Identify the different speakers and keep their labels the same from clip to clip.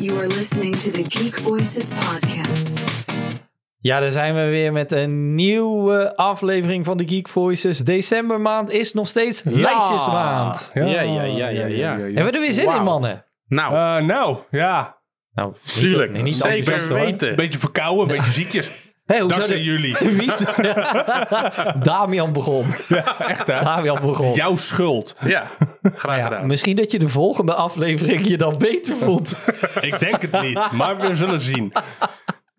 Speaker 1: You are listening to the Geek Voices podcast.
Speaker 2: Ja, daar zijn we weer met een nieuwe aflevering van de Geek Voices. Decembermaand is nog steeds lijstjesmaand.
Speaker 3: Ja, ja, ja, ja, ja.
Speaker 2: Hebben we er weer zin in,
Speaker 3: Wauw.
Speaker 2: mannen?
Speaker 3: Nou,
Speaker 4: Eh, nou, ja.
Speaker 2: Nou, niet-
Speaker 3: tuurlijk.
Speaker 2: nee, Niet enthousiast,
Speaker 3: Zeker
Speaker 2: hoor.
Speaker 3: weten.
Speaker 4: Beetje verkouden, beetje ziekjes.
Speaker 2: Hé, Eh. hoe zou Oh.
Speaker 4: Dankzij
Speaker 2: de-
Speaker 4: jullie.
Speaker 2: Wie is het? Damian begon.
Speaker 4: Echt, hè?
Speaker 2: Damian begon. Nou
Speaker 4: Jouw schuld.
Speaker 3: Ja, graag
Speaker 2: Ja,
Speaker 3: gedaan.
Speaker 2: misschien dat je de volgende aflevering je dan beter voelt.
Speaker 4: Ik denk het niet, maar we zullen zien.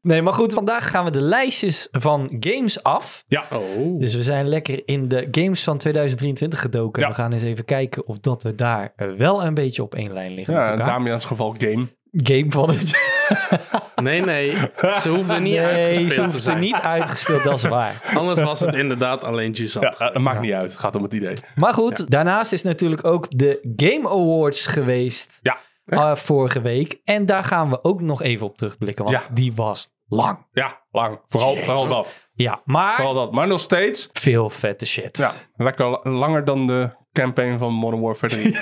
Speaker 2: Nee, maar goed, vandaag gaan we de lijstjes van games af.
Speaker 4: Ja.
Speaker 3: Oh.
Speaker 2: Dus we zijn lekker in de games van 2023 gedoken.
Speaker 4: Ja.
Speaker 2: We gaan eens even kijken of dat we daar eh, wel een beetje op één lijn liggen met
Speaker 4: Ja,
Speaker 2: elkaar.
Speaker 4: Damians geval game.
Speaker 2: Game van het
Speaker 3: Nee, nee. Ze hoefde niet
Speaker 2: Nee,
Speaker 3: uitgespeeld
Speaker 2: ze
Speaker 3: te
Speaker 2: hoeft er
Speaker 3: zijn.
Speaker 2: niet uitgespeeld, dat is waar.
Speaker 3: Anders was het inderdaad alleen
Speaker 4: Ja,
Speaker 3: Jusant.
Speaker 4: eh, het maakt niet uit. Het gaat om het idee.
Speaker 2: Maar goed, daarnaast is natuurlijk ook de Game Awards geweest
Speaker 4: Ja.
Speaker 2: eh, vorige week. En daar gaan we ook nog even op terugblikken, want
Speaker 4: Ja.
Speaker 2: die was lang.
Speaker 4: Ja, lang. Vooral, vooral dat.
Speaker 2: Ja, maar
Speaker 4: Vooral dat. Maar nog steeds.
Speaker 2: veel vette shit.
Speaker 4: Ja, lekker la- langer dan de campaign van Modern Warfare 3.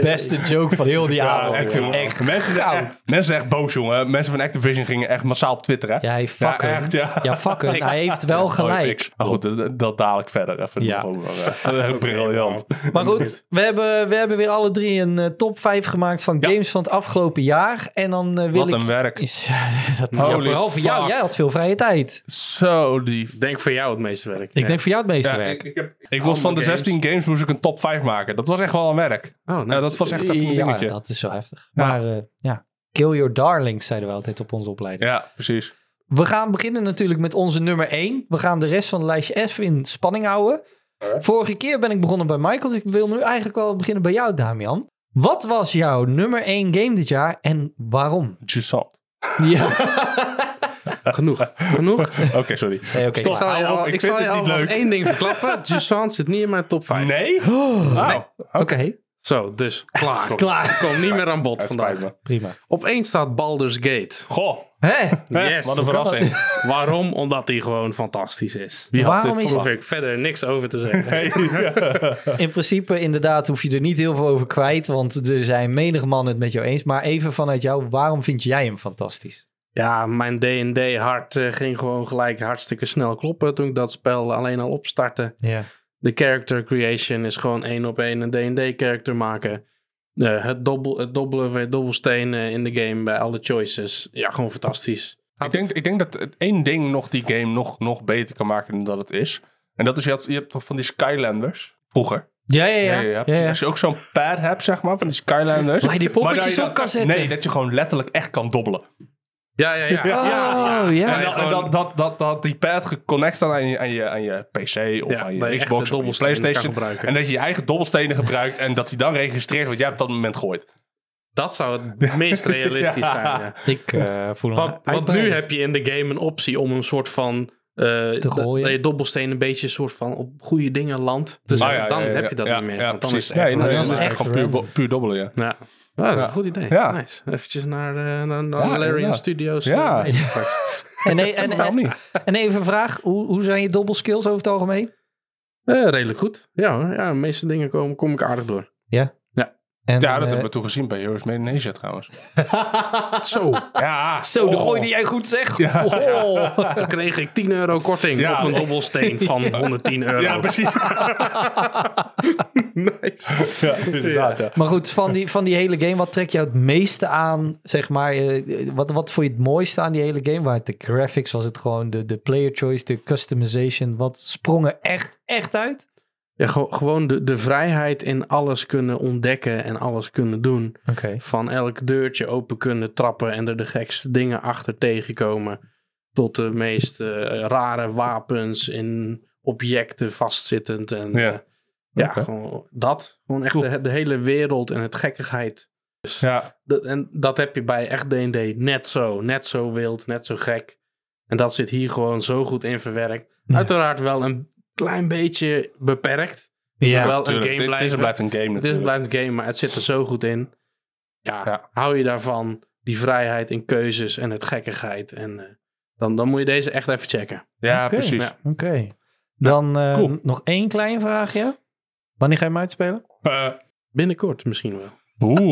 Speaker 2: Beste joke van heel die avond.
Speaker 4: Oh, echt,
Speaker 2: jongen.
Speaker 4: jongen.
Speaker 2: Echt
Speaker 4: mensen, zijn
Speaker 2: goud.
Speaker 4: echt, mensen zijn echt boos, jongen. Mensen van Activision gingen echt massaal op Twitter, hè?
Speaker 2: Ja, hij fuck hun.
Speaker 4: echt, ja.
Speaker 2: Ja, fuck hun. Hij heeft wel
Speaker 4: Oh,
Speaker 2: gelijk.
Speaker 4: niks. Maar goed, dat, dat dadelijk verder. Even
Speaker 2: Ja.
Speaker 4: nog over, eh, briljant.
Speaker 2: Maar goed, we hebben, we hebben weer alle drie een eh, top 5 gemaakt van games van het afgelopen jaar. En dan eh, wil
Speaker 4: Wat een
Speaker 2: ik...
Speaker 4: werk.
Speaker 2: Is, dat, ja,
Speaker 4: Holy
Speaker 2: vooral voor jou,
Speaker 4: fuck.
Speaker 2: jij had veel vrije tijd.
Speaker 4: Zo die.
Speaker 3: Ik Denk voor jou het meeste werk.
Speaker 2: Ik denk voor jou het meeste
Speaker 4: Ja,
Speaker 2: werk.
Speaker 4: ik, ik, heb, ik was van de
Speaker 3: games.
Speaker 4: 16 games moest ik een top 5 maken. Dat was echt wel een werk.
Speaker 3: Oh, nou,
Speaker 4: Ja, dat was echt even een
Speaker 2: ja,
Speaker 4: dingetje.
Speaker 2: dat is wel heftig. Maar eh, ja, kill your darlings zeiden we altijd op onze opleiding.
Speaker 4: Ja, precies.
Speaker 2: We gaan beginnen natuurlijk met onze nummer 1. We gaan de rest van het lijstje even in spanning houden. Vorige keer ben ik begonnen bij Michael, dus ik wil nu eigenlijk wel beginnen bij jou, Damian. Wat was jouw nummer 1 game dit jaar en waarom?
Speaker 4: Jusant.
Speaker 2: Ja,
Speaker 3: Genoeg. Genoeg.
Speaker 4: Oké, sorry.
Speaker 2: nee, oké.
Speaker 3: Ik zal je
Speaker 4: hou op,
Speaker 3: al,
Speaker 4: ik
Speaker 3: ik
Speaker 4: vind
Speaker 3: zal je
Speaker 4: het niet
Speaker 3: alvast
Speaker 4: leuk.
Speaker 3: één ding verklappen. Jusant zit niet in mijn top 5.
Speaker 4: Nee?
Speaker 2: Oh,
Speaker 4: Nou,
Speaker 2: Oké,
Speaker 3: Zo, dus klaar.
Speaker 2: Klaar.
Speaker 3: Kom niet meer aan bod
Speaker 4: het spijt
Speaker 3: vandaag.
Speaker 4: me.
Speaker 2: prima.
Speaker 3: Opeens staat Baldur's Gate.
Speaker 4: Goh,
Speaker 2: Hè?
Speaker 4: hè,
Speaker 3: Yes.
Speaker 4: wat een verrassing.
Speaker 3: Waarom? Omdat die gewoon fantastisch is.
Speaker 4: Wie had
Speaker 2: Waarom
Speaker 4: dit
Speaker 2: is-
Speaker 3: Daar
Speaker 4: verwacht?
Speaker 3: hoef ik verder niks over te zeggen.
Speaker 2: In principe inderdaad hoef je er niet heel veel over kwijt, want er zijn menig mannen het met jou eens. Maar even vanuit jou, waarom vind jij hem fantastisch?
Speaker 3: Ja, mijn D&D hart eh, ging gewoon gelijk hartstikke snel kloppen toen ik dat spel alleen al opstartte.
Speaker 2: Ja.
Speaker 3: De character creation is gewoon één op één een D&D character maken. Eh, het, dobbel, het dobbelen van je dobbelstenen in de game bij alle choices. Ja, gewoon fantastisch.
Speaker 4: Ik denk, ik denk dat het één ding nog die game nog, nog beter kan maken dan dat het is. En dat is, je, had, je hebt toch van die Skylanders vroeger.
Speaker 2: Ja, ja, ja.
Speaker 4: je hebt-
Speaker 2: ja, ja.
Speaker 4: Als je ook zo'n pad hebt, zeg maar, van die Skylanders.
Speaker 2: Waar je die
Speaker 4: Maar dat
Speaker 2: poppetjes
Speaker 4: je
Speaker 2: op kan
Speaker 4: dat-
Speaker 2: zetten.
Speaker 4: Nee, dat je gewoon letterlijk echt kan dobbelen.
Speaker 3: Ja, ja, ja. ja, ja.
Speaker 2: Oh, ja.
Speaker 4: En dat, en
Speaker 3: gewoon-
Speaker 4: dat, dat, dat, dat die pad geconnect staat aan je, aan je, aan je PC of
Speaker 3: Ja,
Speaker 4: aan
Speaker 3: dat je
Speaker 4: je
Speaker 3: echt
Speaker 4: Xbox
Speaker 3: de
Speaker 4: of aan je
Speaker 3: dobbelstenen kan
Speaker 4: PlayStation.
Speaker 3: gebruiken.
Speaker 4: En dat je je eigen dobbelstenen gebruikt en dat hij dan registreert wat jij op dat moment gooit.
Speaker 3: Dat zou het meest realistisch
Speaker 4: Ja.
Speaker 3: zijn, ja.
Speaker 2: Ik eh, voel hem
Speaker 3: Want, want nu
Speaker 2: uitbreiden.
Speaker 3: heb je in de game een optie om een soort van... eh, dat-
Speaker 2: gooien.
Speaker 3: Dat je dobbelsteen een beetje soort van op goede dingen landt. Dus
Speaker 4: Ah, ja,
Speaker 3: dan
Speaker 4: ja, ja,
Speaker 3: heb je dat
Speaker 4: ja,
Speaker 3: niet meer.
Speaker 4: Ja,
Speaker 3: want dan
Speaker 4: precies.
Speaker 3: is het echt
Speaker 4: nee, nee,
Speaker 2: dan
Speaker 4: dan
Speaker 2: is
Speaker 4: is
Speaker 2: het
Speaker 4: het echt
Speaker 2: echt
Speaker 4: gewoon puur,
Speaker 2: random.
Speaker 4: bo- puur dobbelen, ja.
Speaker 3: Ja. Ja, dat is een goed idee.
Speaker 4: Ja.
Speaker 3: Nice. Eventjes naar, eh naar, naar
Speaker 4: Ja,
Speaker 3: Larian
Speaker 4: inderdaad.
Speaker 3: Studios.
Speaker 4: Ja.
Speaker 3: eh, straks.
Speaker 2: En, nee, en, eh,
Speaker 4: Waarom
Speaker 2: en,
Speaker 4: niet?
Speaker 2: en even een vraag, hoe, hoe zijn je dobbelskills over het algemeen?
Speaker 3: Eh, redelijk goed. Ja, hoor. ja, de meeste dingen kom, kom ik aardig door.
Speaker 2: En,
Speaker 4: Ja, dat
Speaker 2: eh,
Speaker 4: hebben we toen gezien bij Heroes Made in Asia trouwens.
Speaker 3: Zo,
Speaker 4: Ja.
Speaker 2: Zo, de
Speaker 4: Oh.
Speaker 2: gooi die jij goed zegt.
Speaker 4: Ja.
Speaker 2: Oh.
Speaker 3: toen kreeg ik 10 euro korting
Speaker 4: Ja.
Speaker 3: op een dobbelsteen van 110 euro.
Speaker 4: Ja, precies.
Speaker 3: nice.
Speaker 4: ja, inderdaad, ja.
Speaker 2: Maar goed, van die, van die hele game, wat trekt jou het meeste aan? Zeg maar, eh, wat, wat vond je het mooiste aan die hele game? Waar het de graphics, was het gewoon de, de player choice, de customization. Wat sprong er echt, echt uit?
Speaker 3: Ja, ge- gewoon de, de vrijheid in alles kunnen ontdekken en alles kunnen doen.
Speaker 2: Oké.
Speaker 3: Van elk deurtje open kunnen trappen en er de gekste dingen achter tegenkomen. Tot de meest eh, rare wapens in objecten vastzittend. En,
Speaker 4: Ja.
Speaker 3: eh, ja,
Speaker 4: Oké.
Speaker 3: gewoon dat. Gewoon echt
Speaker 4: Cool.
Speaker 3: de, de hele wereld en het gekkigheid.
Speaker 4: Ja,
Speaker 3: Dat, en dat heb je bij echt D&D net zo. Net zo wild, net zo gek. En dat zit hier gewoon zo goed in verwerkt.
Speaker 2: Ja.
Speaker 3: Uiteraard wel een klein beetje beperkt.
Speaker 2: Ja,
Speaker 3: wel
Speaker 4: tuurlijk.
Speaker 3: een
Speaker 4: Dit-
Speaker 3: game
Speaker 4: dit, is
Speaker 3: blijven.
Speaker 4: blijft een
Speaker 3: Het
Speaker 4: game
Speaker 3: is een
Speaker 4: natuurlijk.
Speaker 3: blijft een game, maar het zit er zo goed in. Ja,
Speaker 4: Ja.
Speaker 3: hou je daarvan, die vrijheid in keuzes en het gekkigheid. En eh, dan, dan moet je deze echt even checken.
Speaker 4: Ja,
Speaker 2: Oké.
Speaker 4: precies.
Speaker 3: Ja.
Speaker 2: Oké. Dan eh,
Speaker 4: cool.
Speaker 2: nog één klein vraagje. Wanneer ga je hem uitspelen?
Speaker 4: Eh,
Speaker 3: Binnenkort misschien wel.
Speaker 4: Oeh.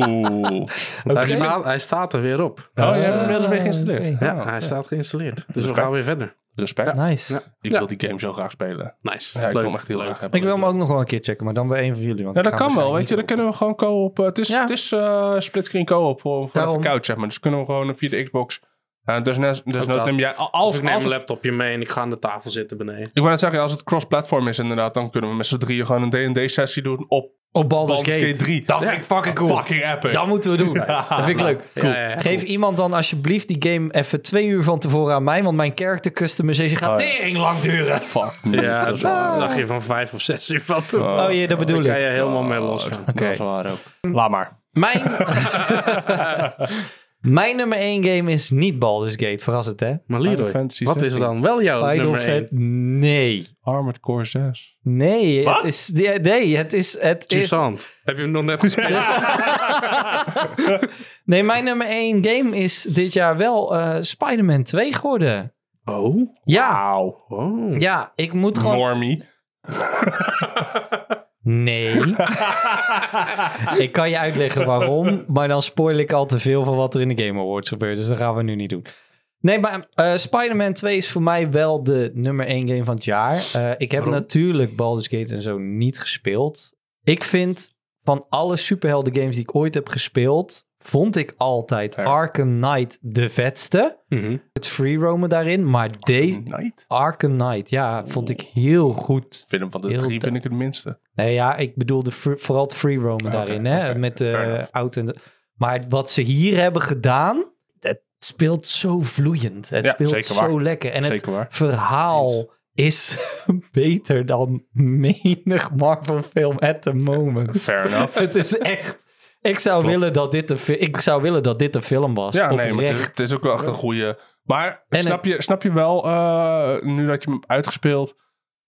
Speaker 3: Want
Speaker 2: Oké.
Speaker 3: hij, staat, hij staat er weer op. Dus,
Speaker 4: Oh, jij
Speaker 2: ja.
Speaker 4: hebt hem inmiddels weer geïnstalleerd.
Speaker 2: Oké.
Speaker 3: eh, Ja,
Speaker 4: Oh,
Speaker 3: hij staat geïnstalleerd. Dus we
Speaker 4: Oké.
Speaker 3: gaan weer verder.
Speaker 4: Respect.
Speaker 2: Nice.
Speaker 3: Ja.
Speaker 4: Ik
Speaker 3: Ja.
Speaker 4: wil die game zo graag spelen.
Speaker 3: Nice.
Speaker 4: Ja, ik wil hem
Speaker 3: Leuk.
Speaker 4: echt heel erg hebben.
Speaker 2: Ik wil hem ook nog wel een keer checken, maar dan bij één van jullie. Want
Speaker 4: Ja,
Speaker 2: ik
Speaker 4: dat
Speaker 2: ga
Speaker 4: kan wel,
Speaker 2: waarschijnlijk
Speaker 4: weet je. Dan kunnen we gewoon co-op... eh, Het is,
Speaker 2: Ja.
Speaker 4: het is eh, splitscreen co-op voor, voor de
Speaker 2: Daarom.
Speaker 4: couch, zeg maar. Dus kunnen we gewoon via de Xbox... eh dus nes- dus
Speaker 3: Ook
Speaker 4: noods
Speaker 3: dat.
Speaker 4: neem jij... Als,
Speaker 3: Als
Speaker 4: als,
Speaker 3: ik neem een
Speaker 4: het-
Speaker 3: laptopje mee en ik ga aan de tafel zitten beneden.
Speaker 4: ik wou net zeggen, als het cross-platform is inderdaad... dan kunnen we met z'n drieën gewoon een D&D-sessie doen op
Speaker 2: niet. Op Baldur's,
Speaker 4: Baldur's Gate 3.
Speaker 2: Dat vind ik fucking cool.
Speaker 4: Fucking epic.
Speaker 2: Dat moeten we doen. Dat vind ik leuk.
Speaker 3: Ja, ja, ja.
Speaker 2: Geef iemand dan alsjeblieft die game even twee uur van tevoren aan mij, want mijn character customization gaat
Speaker 4: Oh, ja.
Speaker 2: tering lang duren.
Speaker 4: Fuck
Speaker 3: Ja,
Speaker 4: me. dat
Speaker 3: daar
Speaker 4: is waar.
Speaker 3: lag je van vijf of zes uur van toe.
Speaker 2: Oh jee, dat bedoel
Speaker 3: Daar kan
Speaker 2: ik.
Speaker 3: je helemaal mee losgaan.
Speaker 2: Oké. Mm.
Speaker 4: Dat is waar ook. Laat maar.
Speaker 2: Mijn... mijn nummer één game is niet Baldur's Gate, verrassend hè?
Speaker 3: Maar
Speaker 4: Final
Speaker 3: Leroy,
Speaker 4: Fantasy
Speaker 3: wat is er
Speaker 4: 16.
Speaker 3: dan wel jouw
Speaker 2: Final
Speaker 3: nummer één?
Speaker 2: Fantasy. Nee.
Speaker 4: Armored Core 6.
Speaker 2: Nee,
Speaker 4: Wat?
Speaker 2: het is, nee, nee, het is, het is,
Speaker 3: Suzant. Heb je hem nog net gespeeld?
Speaker 2: nee, mijn nummer één game is dit jaar wel eh Spider-Man 2 geworden.
Speaker 3: Oh.
Speaker 2: Ja,
Speaker 4: Auw.
Speaker 3: oh.
Speaker 2: ja, ik moet gewoon,
Speaker 4: Normie.
Speaker 2: nee, ik kan je uitleggen waarom, maar dan spoil ik al te veel van wat er in de Game Awards gebeurt, dus dat gaan we nu niet doen. Nee, maar eh, Spider-Man 2 is voor mij wel de nummer één game van het jaar. Eh, ik heb
Speaker 3: Waarom?
Speaker 2: natuurlijk Baldur's Gate en zo niet gespeeld. Ik vind van alle superhelden games die ik ooit heb gespeeld, vond ik altijd
Speaker 4: Ja.
Speaker 2: Arkham Knight de vetste.
Speaker 3: Mhm.
Speaker 2: Het free roamen daarin, maar deze
Speaker 4: Night.
Speaker 2: Arkham Knight, ja, vond ik heel goed.
Speaker 4: Film van de
Speaker 2: Heel
Speaker 4: drie
Speaker 2: te-
Speaker 4: vind ik het minste.
Speaker 2: Nee, ja, ik bedoel de fr- vooral het free roamen
Speaker 4: Oké,
Speaker 2: daarin, hè,
Speaker 4: oké,
Speaker 2: met
Speaker 4: fair
Speaker 2: de
Speaker 4: enough.
Speaker 2: auto. En de- maar wat ze hier hebben gedaan, het speelt zo vloeiend. Het
Speaker 4: Ja,
Speaker 2: speelt
Speaker 4: zeker waar.
Speaker 2: zo lekker. En het
Speaker 4: Zeker waar.
Speaker 2: verhaal is beter dan menig Marvel film at the moment.
Speaker 4: Fair enough.
Speaker 2: Het is echt. Ik zou, willen dat dit een, fi- ik zou willen dat dit een film was.
Speaker 4: Ja, nee,
Speaker 2: oprecht.
Speaker 4: maar het is, het is ook wel echt een goede. Maar
Speaker 2: En
Speaker 4: snap, je, snap je wel, eh, nu dat je hem hebt uitgespeeld,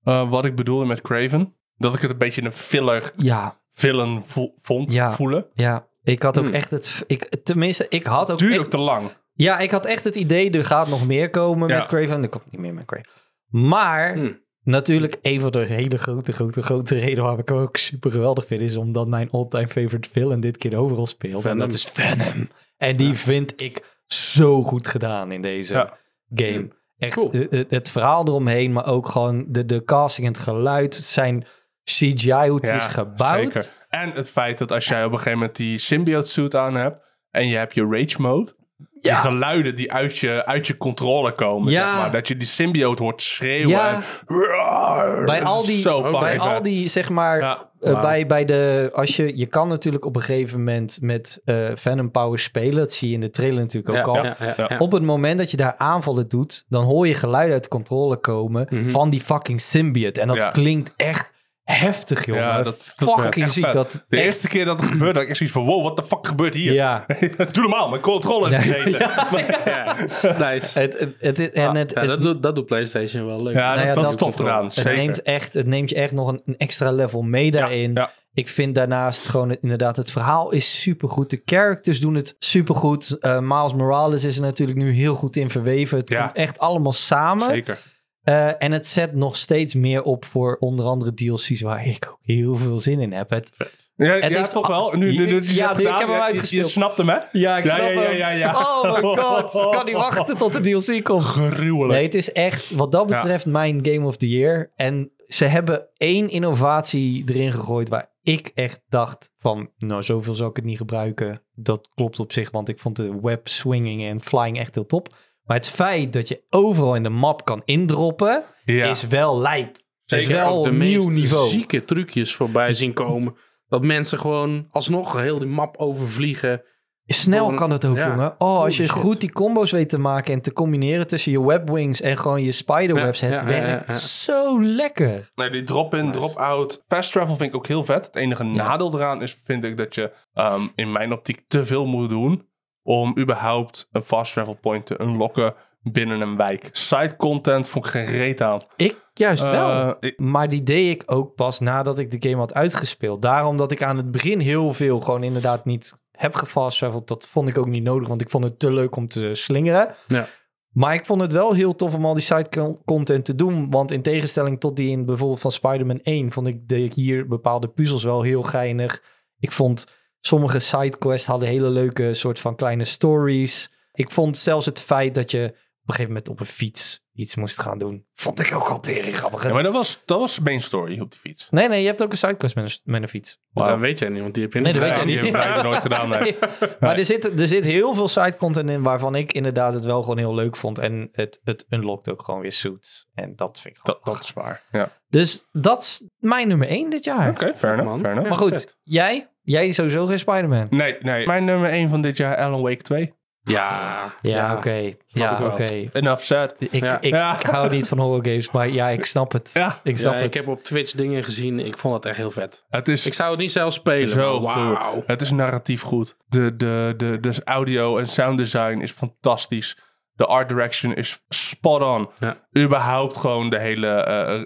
Speaker 4: eh, wat ik bedoelde met Craven? Dat ik het een beetje een filler,
Speaker 2: Ja,
Speaker 4: villain vo- vond
Speaker 2: Ja.
Speaker 4: voelen.
Speaker 2: ja. Ik had ook
Speaker 3: Hmm.
Speaker 2: echt het. Ik, tenminste, ik had ook.
Speaker 4: Duurde
Speaker 2: echt-
Speaker 4: ook te lang.
Speaker 2: ja, ik had echt het idee. Er gaat nog meer komen
Speaker 4: Ja. Hm.
Speaker 2: met Craven. Er komt niet meer met Craven. Maar
Speaker 3: Hmm.
Speaker 2: natuurlijk, een van de hele grote, grote, grote redenen waarom ik hem ook super geweldig vind. Is omdat mijn all-time favorite villain dit keer de overal speelt.
Speaker 3: Venom.
Speaker 2: En dat is Venom. En die vind ik zo goed gedaan in deze.
Speaker 4: Ja. Hm.
Speaker 2: game. Echt,
Speaker 3: Cool.
Speaker 2: eh, eh, het verhaal eromheen, maar ook gewoon de, de casting en het geluid, zijn CGI, hoe het
Speaker 4: Ja,
Speaker 2: is gebouwd.
Speaker 4: zeker. En het feit dat als jij op een gegeven moment die symbiote suit aan hebt en je hebt je rage mode, die
Speaker 2: Ja.
Speaker 4: geluiden die uit je, uit je controle komen,
Speaker 2: Ja.
Speaker 4: zeg maar. Dat je die symbiote hoort schreeuwen.
Speaker 2: Ja.
Speaker 4: en-
Speaker 2: Bij al die,
Speaker 4: Zo fucking
Speaker 2: bij al
Speaker 4: vet.
Speaker 2: die zeg maar,
Speaker 4: Ja.
Speaker 2: eh,
Speaker 3: Wauw.
Speaker 2: bij, bij de, als je, je kan natuurlijk op een gegeven moment met eh Venom Power spelen, dat zie je in de trailer natuurlijk ook al.
Speaker 3: Ja, ja, ja, ja.
Speaker 2: Op het moment dat je daar aanvallen doet, dan hoor je geluid uit de controle komen
Speaker 3: Mhm.
Speaker 2: van die fucking symbiote. En dat
Speaker 4: Ja.
Speaker 2: klinkt echt heftig, jongen.
Speaker 4: Ja, dat, dat
Speaker 2: fucking
Speaker 4: echt
Speaker 2: ziek.
Speaker 4: vet.
Speaker 2: Dat
Speaker 4: de
Speaker 2: echt-
Speaker 4: eerste keer dat het gebeurde, had ik echt zoiets van, wow, wat de fuck gebeurt hier?
Speaker 2: ja.
Speaker 4: Doe normaal, mijn controller is
Speaker 2: Ja.
Speaker 4: bezeten. Ja,
Speaker 3: Ja. Nice.
Speaker 2: Het, het, het, en het,
Speaker 3: Ja,
Speaker 2: het-
Speaker 3: dat, doet, dat doet PlayStation wel leuk.
Speaker 4: dat,
Speaker 2: Nou ja,
Speaker 4: dat
Speaker 2: dat-
Speaker 4: is tof gedaan,
Speaker 2: het,
Speaker 4: zeker.
Speaker 2: neemt echt, het neemt je echt nog een, een extra level mee daarin.
Speaker 4: ja.
Speaker 2: Ik vind daarnaast gewoon het- inderdaad, het verhaal is supergoed. De characters doen het supergoed. Eh Miles Morales is er natuurlijk nu heel goed in verweven. Het
Speaker 4: Ja.
Speaker 2: komt echt allemaal samen.
Speaker 4: Zeker.
Speaker 2: Eh, en het zet nog steeds meer op voor onder andere DLC's waar ik ook heel veel zin in heb. Het,
Speaker 4: Ja, ja,
Speaker 2: heeft-
Speaker 4: toch wel. Nu,
Speaker 2: Ja,
Speaker 4: nu, nu, nu- je hebt
Speaker 2: ik heb
Speaker 4: gedaan,
Speaker 2: hem
Speaker 4: ja, je- Je,
Speaker 2: uitgespeeld.
Speaker 4: snapt hem, hè?
Speaker 2: ja, ik
Speaker 4: Ja, snap ja, hem. ja, ja, ja.
Speaker 2: Oh mijn god, ik kan niet wachten tot de DLC komt.
Speaker 4: Gruwelijk.
Speaker 2: Nee, het is echt wat dat
Speaker 4: Ja.
Speaker 2: betreft mijn Game of the Year. En ze hebben één innovatie erin gegooid waar ik echt dacht van, nou zoveel zal ik het niet gebruiken. Dat klopt op zich, want ik vond de web swinging en flying echt heel top. Maar het feit dat je overal in de map kan indroppen,
Speaker 4: Ja.
Speaker 2: is wel lijp.
Speaker 3: Zeker
Speaker 2: is wel
Speaker 3: ook de
Speaker 2: een nieuw
Speaker 3: meest
Speaker 2: niveau.
Speaker 3: zieke trucjes voorbij zien komen. Dat mensen gewoon alsnog heel die map overvliegen.
Speaker 2: Snel
Speaker 3: Gewoon-
Speaker 2: kan het ook,
Speaker 3: ja.
Speaker 2: jongen. Oh, als je
Speaker 3: Holy shit.
Speaker 2: goed die combo's weet te maken en te combineren tussen je webwings en gewoon je spiderwebs,
Speaker 3: Ja,
Speaker 2: het
Speaker 3: ja, ja, ja,
Speaker 2: werkt
Speaker 3: ja.
Speaker 2: zo lekker.
Speaker 4: Nee, die drop-in, drop-out. Fast travel vind ik ook heel vet. Het enige nadeel eraan is, vind ik, dat je ehm, in mijn optiek te veel moet doen om überhaupt een fast travel point te unlocken binnen een wijk. Side content vond ik geen reet aan.
Speaker 2: Ik juist wel.
Speaker 4: Eh, ik-
Speaker 2: Maar die deed ik ook pas nadat ik de game had uitgespeeld. Daarom dat ik aan het begin heel veel gewoon inderdaad niet heb gefast Dat vond ik ook niet nodig, want ik vond het te leuk om te slingeren.
Speaker 3: Ja.
Speaker 2: Maar ik vond het wel heel tof om al die side con- content te doen. Want in tegenstelling tot die in bijvoorbeeld van Spider-Man 1... vond ik, deed ik hier bepaalde puzzels wel heel geinig. Ik vond Sommige sidequests hadden hele leuke soort van kleine stories. Ik vond zelfs het feit dat je op een gegeven moment op een fiets iets moest gaan doen, vond ik ook al tering grappig.
Speaker 4: Ja, maar dat was, dat was main story op die fiets.
Speaker 2: Nee, nee, je hebt ook een sidequest met een, met een fiets.
Speaker 3: Maar Dat weet jij niet, want die heb je
Speaker 2: Nee,
Speaker 3: niet.
Speaker 2: dat weet
Speaker 4: Ja,
Speaker 2: jij
Speaker 4: die
Speaker 2: niet.
Speaker 4: hebben wij nooit gedaan. nee.
Speaker 2: Nee. Maar er zit, er zit heel veel side content in waarvan ik inderdaad het wel gewoon heel leuk vond. En het, het unlockt ook gewoon weer suits. En dat vind ik
Speaker 4: Dat,
Speaker 2: gewoon
Speaker 4: dat is waar. Ja. Oké,
Speaker 2: Dus dat is mijn nummer 1 dit jaar.
Speaker 4: fair enough.
Speaker 3: man.
Speaker 4: Fair enough.
Speaker 2: maar
Speaker 3: ja,
Speaker 2: goed,
Speaker 3: vet.
Speaker 2: jij? Jij is sowieso geen Spider-Man.
Speaker 4: Nee, nee. Mijn nummer 1 van dit jaar, Alan Wake 2.
Speaker 3: Ja,
Speaker 2: Ja, oké.
Speaker 3: ik
Speaker 2: Ja,
Speaker 3: wel.
Speaker 2: oké.
Speaker 4: Enough said.
Speaker 2: Ik,
Speaker 3: Ja.
Speaker 2: ik
Speaker 4: Ja.
Speaker 2: hou niet van horror games, maar ja, ik snap het.
Speaker 4: Ja.
Speaker 2: Ik snap
Speaker 3: Ja,
Speaker 2: het.
Speaker 3: ik heb op Twitch dingen gezien. Ik vond het echt heel vet.
Speaker 4: Het is
Speaker 3: Ik zou het niet zelf spelen.
Speaker 4: zo
Speaker 3: maar
Speaker 4: goed.
Speaker 3: wauw.
Speaker 4: Het is narratief goed. De, de, de, de audio en sound design is fantastisch. De art direction is spot on.
Speaker 3: Ja.
Speaker 4: Überhaupt gewoon de hele, eh,